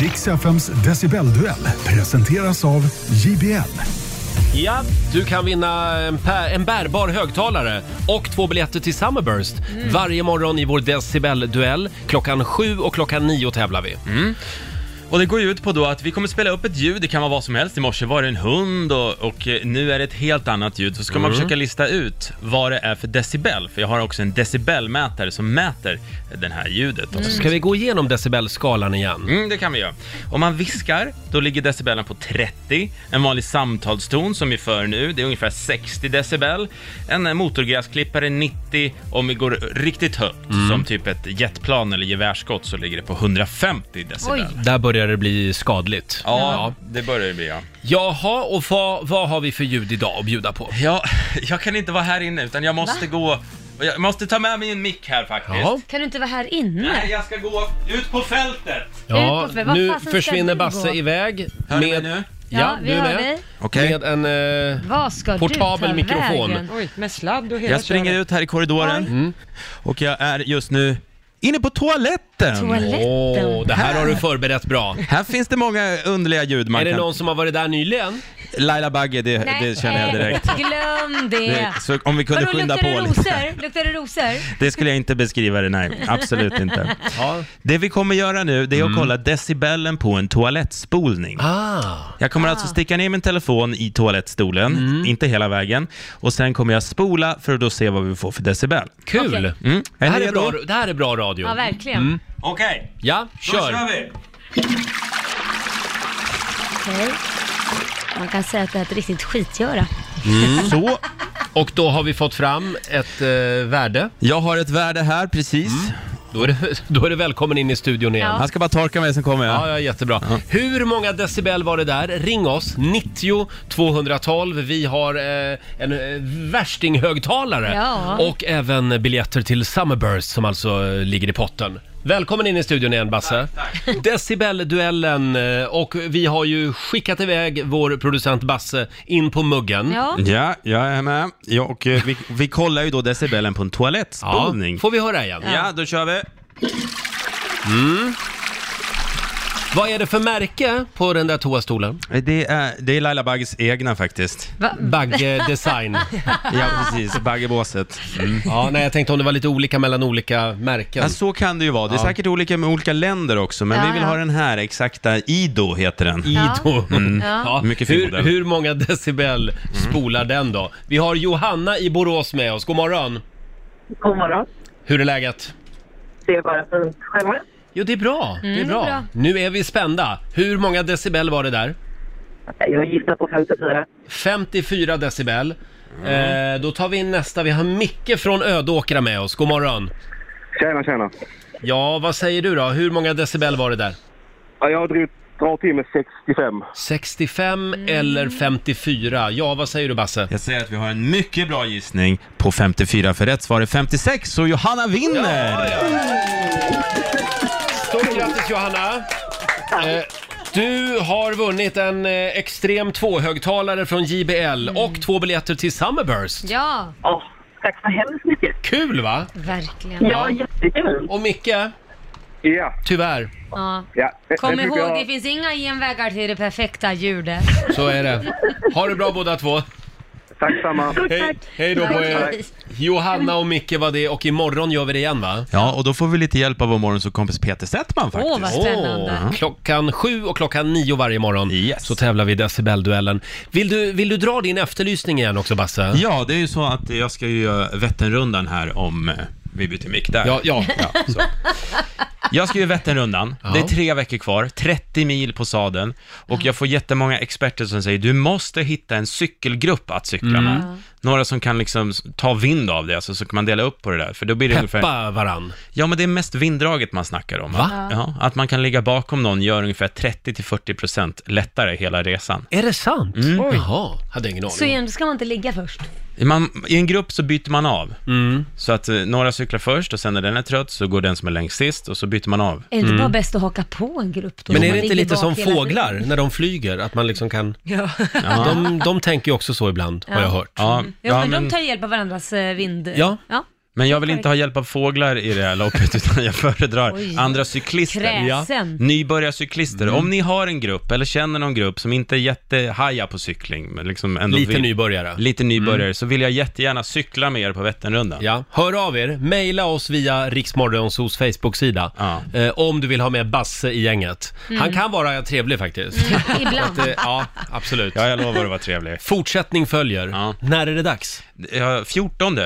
S4: Riks FMs decibelduell presenteras av JBL.
S1: Ja, du kan vinna en, pä- en bärbar högtalare och två biljetter till Summerburst
S2: Mm.
S1: varje morgon i vår decibelduell. Klockan sju och klockan nio tävlar vi.
S5: Mm. Och det går ju ut på då att vi kommer spela upp ett ljud, det kan vara vad som helst. I morse var det en hund och, och eh, nu är det ett helt annat ljud. Så ska man
S1: Mm.
S5: försöka lista ut vad det är för decibel. För jag har också en decibelmätare som mäter det här ljudet.
S1: Mm. Ska vi gå igenom decibelskalan igen?
S5: Mm, det kan vi göra. Om man viskar, då ligger decibelen på 30. En vanlig samtalston som vi för nu, det är ungefär 60 decibel. En eh, motorgräsklippare 90. Om vi går riktigt högt,
S1: Mm.
S5: som typ ett jetplan eller gevärsskott, så ligger det på 150 decibel.
S1: Där börjar det bli skadligt.
S5: Ja, det börjar det bli ja.
S1: Jaha, och vad, vad har vi för ljud idag att bjuda på?
S5: Ja, jag kan inte vara här inne utan jag måste gå... Jag måste ta med mig en mick här faktiskt.
S2: Kan du inte vara här inne?
S5: Nej, jag ska gå ut på fältet!
S1: Ja,
S2: Ut på- vad
S1: nu
S2: fasen ska
S1: försvinner
S2: du
S1: Basse
S2: gå?
S1: iväg. Hör med... mig nu? Ja,
S2: Ja,
S1: du
S2: vi
S1: är
S2: hör
S1: med.
S2: dig.
S1: Med en... eh,
S2: Vad ska
S1: Portabel
S2: du ta
S1: mikrofon.
S2: vägen?
S3: Oj, med sladd och hela
S5: Jag springer ut här i korridoren
S1: Mm.
S5: och jag är just nu inne på toaletten.
S1: Toaletten. Åh, det här har du förberett bra.
S5: Här finns det många underliga ljud man
S1: Är det
S5: kan...
S1: någon som har varit där nyligen?
S5: Laila Bagge, det, det känner jag direkt.
S2: Glöm
S5: Det,
S2: det.
S5: så om vi kunde
S2: Vadå,
S5: skynda
S2: luktar
S5: på
S2: det
S5: lite.
S2: rosor? Luktar det rosor?
S5: Det skulle jag inte beskriva det, nej. Absolut inte. Det vi kommer göra nu, det är att
S1: Mm.
S5: kolla decibellen på en toalettspolning.
S1: Ah.
S5: Jag kommer alltså sticka ner min telefon i toalettstolen,
S1: Mm.
S5: inte hela vägen, och sen kommer jag spola för att då se vad vi får för decibel.
S1: Kul! Okej.
S5: Mm.
S1: Det här,
S5: ni
S1: är bra,
S5: redo?
S1: det här är bra radio. Mm.
S2: Ja, verkligen.
S5: Okej,
S1: Ja,
S5: då
S1: kör!
S5: kör vi!
S2: Okej. Man kan säga att det är ett riktigt skitgöra.
S1: Mm. Så. Och då har vi fått fram ett eh, värde. Mm.
S5: Jag har ett värde här, precis.
S1: Då, är det, då är det välkommen in i studion igen.
S5: Ja. Han ska bara torka mig, sen kommer jag.
S1: Ja, ja jättebra. Hur många decibel var det där? Ring oss, 90 212. Vi har eh, en eh, värstinghögtalare
S2: Ja.
S1: och även biljetter till Summerburst som alltså eh, ligger i potten. Välkommen in i studion igen Basse. Decibelduellen eh, och vi har ju skickat iväg vår producent Basse in på muggen.
S2: Ja.
S5: Ja, jag är med. Ja, och eh, vi, vi kollar ju då decibelen på en toalettspolning.
S1: får vi höra igen?
S5: Ja, då kör vi.
S1: Mm. Vad är det för märke på den där toastolen?
S5: Eh, Det är, det är Laila Bagges egna faktiskt.
S2: Va?
S1: Bagge Design.
S5: Ja, precis. Baggebåset. Mm.
S1: Ja, nej, jag tänkte om det var lite olika mellan olika märken.
S5: Ja, så kan det ju vara. Det är
S1: Ja.
S5: säkert olika med olika länder också, men
S1: Ja,
S5: vi vill
S1: ja.
S5: ha den här exakta. Ido heter den.
S1: Ido.
S5: Mm.
S1: Ja.
S5: Mycket fin
S1: hur,
S5: modell. Mm.
S1: hur många decibel spolar den då? Vi har Johanna i Borås med oss. God morgon.
S18: God morgon.
S1: Hur är läget?
S18: Det är bara fint. Själva?
S1: Jo, det är bra. Mm. det är bra. Nu är vi spända. Hur många decibel var det där?
S18: Jag gissar på 54.
S1: 54 decibel. Eh, då tar vi in nästa. Vi har Micke från Ödåkra med oss. God morgon.
S19: Tjena, tjena.
S1: Ja, vad säger du då? Hur många decibel var det där?
S19: Ja, jag drar, drar till med 65.
S1: 65 eller 54? Ja, vad säger du Basse?
S5: Jag säger att vi har en mycket bra gissning på 54, för rätt svar är 56, så Johanna vinner!
S1: Stort grattis Johanna! Eh, Du har vunnit en eh, extrem tvåhögtalare från JBL och två biljetter till Summerburst.
S2: Ja.
S18: Tack så hemskt mycket.
S1: Kul va?
S2: Verkligen.
S18: Ja, jättekul.
S1: Och Micke?
S19: Ja.
S1: Tyvärr.
S2: Ja.
S19: Ja.
S2: Kom ihåg, det finns inga genvägar till det perfekta ljudet.
S1: Så är det. Ha det bra båda två.
S19: Tack samma.
S1: Hej, hej då på er. Johanna och Micke var det och imorgon gör vi det igen va?
S5: Ja, och då får vi lite hjälp av vår morgonsåkompis Peter Settman faktiskt.
S2: Åh, vad spännande.
S1: Åh, Klockan sju och klockan nio varje morgon så tävlar vi i decibelduellen. Vill du, vill du dra din efterlysning igen också Basse?
S5: Ja, det är ju så att jag ska ju göra Vätternrundan här om eh, vi byter mick där.
S1: Ja, ja.
S5: så. Jag ska ju Vätternrundan. Det är tre veckor kvar, 30 mil på sadeln och jag får jättemånga experter som säger du måste hitta en cykelgrupp att cykla
S1: Mm.
S5: med.
S1: Ja.
S5: Några som kan liksom ta vind av det, alltså, så kan man dela upp på det där. För då blir det
S1: Peppa
S5: ungefär...
S1: varann.
S5: Ja, men det är mest vinddraget man snackar om.
S1: Va?
S5: Att, ja, att man kan ligga bakom någon gör ungefär 30-40% lättare hela resan.
S1: Är det sant?
S5: Mm.
S1: Jaha, hade ingen aning.
S2: Så igen, då ska man inte ligga först.
S5: Man, I en grupp så byter man av.
S1: Mm.
S5: Så att eh, några cyklar först och sen när den är trött så går den som är längst sist och så byter man av. Mm.
S2: Är det inte bara bäst att haka på en grupp då?
S1: Men är
S2: Man
S1: det inte
S2: ligger
S1: lite
S2: bak
S1: som
S2: hela
S1: fåglar
S2: tiden.
S1: när de flyger? Att man liksom kan...
S2: Ja.
S1: De, de tänker ju också så ibland, har
S2: Mm. Ja.
S1: jag hört.
S5: Ja,
S2: Jo, men, de tar hjälp av varandras eh, vind...
S5: Ja.
S2: ja.
S5: Men jag vill inte ha hjälp av fåglar i det här loppet, utan jag föredrar
S2: Oj.
S5: andra cyklister.
S2: Kräsen.
S5: Nybörjarcyklister.
S1: Mm.
S5: Om ni har en grupp, eller känner någon grupp, som inte är jättehaja på cykling, men liksom ändå
S1: Lite
S5: vill,
S1: nybörjare. Mm.
S5: Lite nybörjare, så vill jag jättegärna cykla med er på Vätternrundan.
S1: Ja, hör av er. Maila oss via Riksmorgonsos Facebook-sida eh, om du vill ha med Basse i gänget.
S2: Mm.
S1: Han kan vara trevlig faktiskt.
S2: Ibland.
S1: Så att, eh, ja, absolut.
S5: Ja, jag lovar att vara trevlig.
S1: Fortsättning följer. När är det dags?
S5: Ja, 14 eh,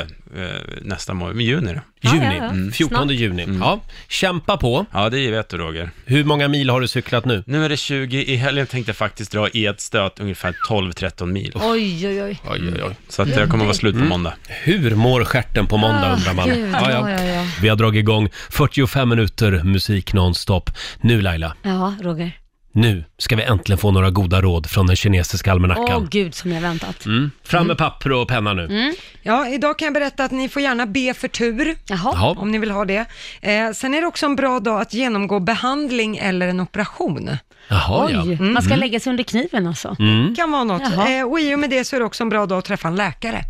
S5: nästa månad, men juni då.
S1: Juni. ja, ja. Mm. 14 Snart. juni. Ja, kämpa på.
S5: Ja, det vet du Roger.
S1: Hur många mil har du cyklat nu?
S5: Nu är det 20, i helgen tänkte jag faktiskt dra i ett stöt ungefär 12-13 mil.
S2: Oj, oj, oj.
S1: Oj, oj, oj.
S5: Så att jag kommer att vara slut på måndag.
S1: Mm. Hur mår stjärten på måndag
S2: Ah,
S1: undrar man.
S2: gud. Ja, ja, ja.
S1: Vi har dragit igång 45 minuter musik nonstop. Nu Laila,
S2: Ja, Roger.
S1: nu ska vi äntligen få några goda råd från den kinesiska
S2: Åh,
S1: almanackan.
S2: gud som jag väntat.
S1: Mm. Fram med papper och penna nu.
S2: Mm.
S3: Ja, idag kan jag berätta att ni får gärna be för tur,
S1: Jaha.
S3: om ni vill ha det. Eh, sen är det också en bra dag att genomgå behandling eller en operation.
S1: Jaha, ja.
S2: Oj, man ska lägga sig under kniven alltså.
S1: Mm.
S3: kan vara något.
S2: Jaha.
S3: Eh, och i och med det så är det också en bra dag att träffa en läkare.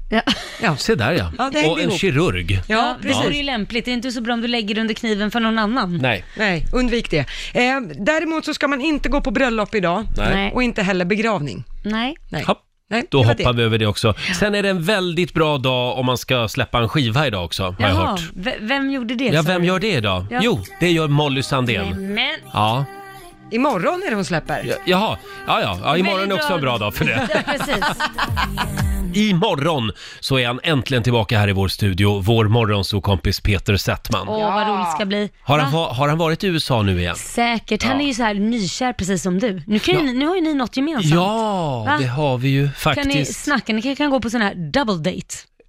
S1: Se där ja.
S3: Ja, det hängde
S1: och en
S3: ihop.
S1: kirurg.
S2: Ja, det vore ju
S1: Ja.
S2: lämpligt. Det är inte så bra om du lägger under kniven för någon annan.
S1: Nej.
S3: Nej, undvik det. Eh, däremot så ska man inte gå på bröllop idag
S1: Nej. Nej.
S3: och inte heller begravning.
S2: Nej.
S3: Nej.
S1: Hopp.
S3: Nej,
S1: Då
S3: det var
S1: hoppar vi över det också. Sen är det en väldigt bra dag om man ska släppa en skiva idag också, har jag
S2: Jaha,
S1: hört.
S2: v- vem gjorde det?
S1: Ja,
S2: sa
S1: vem
S2: du?
S1: gör det idag?
S2: Ja.
S1: Jo, det gör Molly Sandén.
S2: Men,
S1: Ja.
S3: Imorgon är det hon släpper.
S1: Ja- Jaha, ja, ja. ja imorgon är
S2: Väldigt
S1: också en bra dag för det.
S2: Ja, precis.
S1: Imorgon så är han äntligen tillbaka här i vår studio, vår morgonsokompis Peter Settman.
S2: Åh, vad roligt det ska bli.
S1: Har han,
S2: Va?
S1: va- har han varit i USA nu igen?
S2: Säkert. Han är ju så här nykär precis som du. Nu, kan ju, ni- nu har ju ni något gemensamt.
S1: Ja,
S2: Va?
S1: det har vi ju
S2: Kan ni
S1: faktiskt.
S2: snacka? Ni kan, kan gå på sån här double date.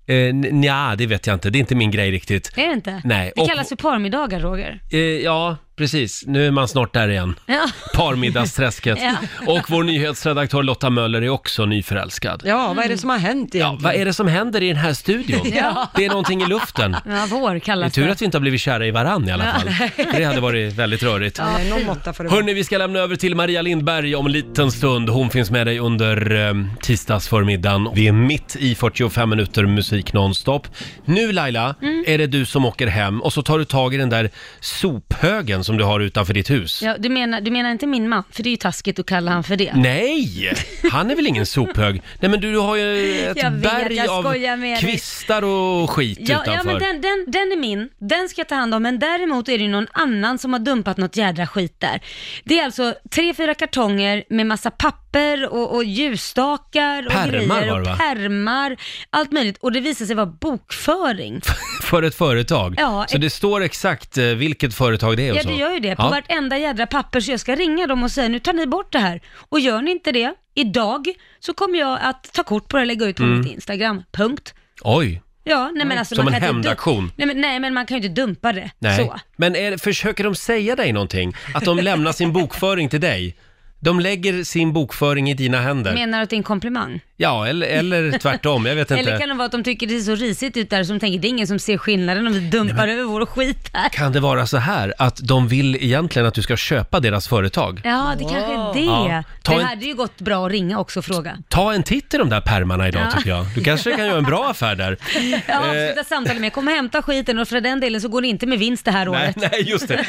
S1: Eh, n- nja, det vet jag inte. Det är inte min grej riktigt.
S2: Är det inte?
S1: Nej,
S2: Det
S1: och-
S2: kallas för parmiddagar, Roger.
S1: Eh, ja, precis. Nu är man snart där igen.
S2: Ja.
S1: Parmiddagsträsket.
S2: Ja.
S1: Och vår nyhetsredaktör Lotta Möller är också nyförälskad.
S3: Ja, vad är det som har hänt egentligen?
S1: Mm. Vad är det som händer i den här studion?
S2: Ja.
S1: Det är någonting i luften.
S2: Ja, vår
S1: Det är
S2: kallas
S1: tur att vi inte har blivit kära i varann i alla
S2: Ja.
S1: fall. För Det hade varit väldigt rörigt.
S3: Ja, någon måtta får det vara.
S1: Hörni, vi ska lämna över till Maria Lindberg om en liten stund. Hon finns med dig under eh, tisdagsförmiddagen. Vi är mitt i 45 minuter musik nonstop. Nu Laila,
S2: Mm.
S1: är det du som åker hem och så tar du tag i den där sophögen som du har utanför ditt hus.
S2: Ja, du, menar, du menar inte min man, för det är ju taskigt att kalla han för det.
S1: Nej! Han är väl ingen sophög? Nej men du, du har ju ett
S2: Jag vet,
S1: berg
S2: jag
S1: av
S2: skojar med dig.
S1: kvistar och skit
S2: Ja,
S1: utanför.
S2: ja men den, den, den är min, den ska jag ta hand om, men däremot är det ju någon annan som har dumpat något jädra skit där. Det är alltså tre, fyra kartonger med massa papper och, och ljusstakar och
S1: Pärmar
S2: grejer
S1: var det, va?
S2: och pärmar, allt möjligt. Och det visar sig vara bokföring.
S1: För ett företag?
S2: Ja,
S1: så det står exakt eh, vilket företag det är och
S2: Ja,
S1: så?
S2: det gör ju det. På
S1: Ja.
S2: vartenda jädra papper, så jag ska ringa dem och säga nu tar ni bort det här. Och gör ni inte det idag så kommer jag att ta kort på det och lägga ut på
S1: Mm.
S2: mitt Instagram. Punkt.
S1: Oj!
S2: Ja, nej men alltså
S1: Som
S2: man
S1: en
S2: kan inte
S1: hämndaktion.
S2: dum- Nej men, nej men man kan ju inte dumpa det
S1: Nej.
S2: så.
S1: Men är, försöker de säga dig någonting? Att de lämnar sin bokföring till dig? De lägger sin bokföring i dina händer?
S2: Menar du att det är en komplimang?
S1: Ja, eller, eller tvärtom, jag vet inte.
S2: Eller kan det vara att de tycker det är så risigt ut där som tänker det är ingen som ser skillnaden om vi dumpar över vår skit här.
S1: Kan det vara så här att de vill egentligen att du ska köpa deras företag?
S2: Ja, det kanske är det.
S1: Ja. Ta
S2: det
S1: en-
S2: hade ju gått bra att ringa också och fråga.
S1: Ta en titt i de där pärmarna idag
S2: Ja.
S1: tycker jag. Du kanske kan göra en bra affär där.
S2: Jag
S1: Eh,
S2: avslutar samtalet med kom och hämta skiten och för den delen så går det inte med vinst det här
S1: Nej,
S2: året.
S1: nej, just det.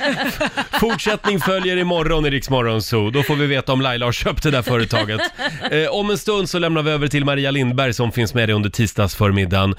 S1: Fortsättning följer imorgon i Rix Morgon Zoo. Då får vi veta om Laila har köpt det där företaget. Eh, om en stund så lämnar vi över till Maria Lindberg som finns med dig under tisdagsförmiddagen.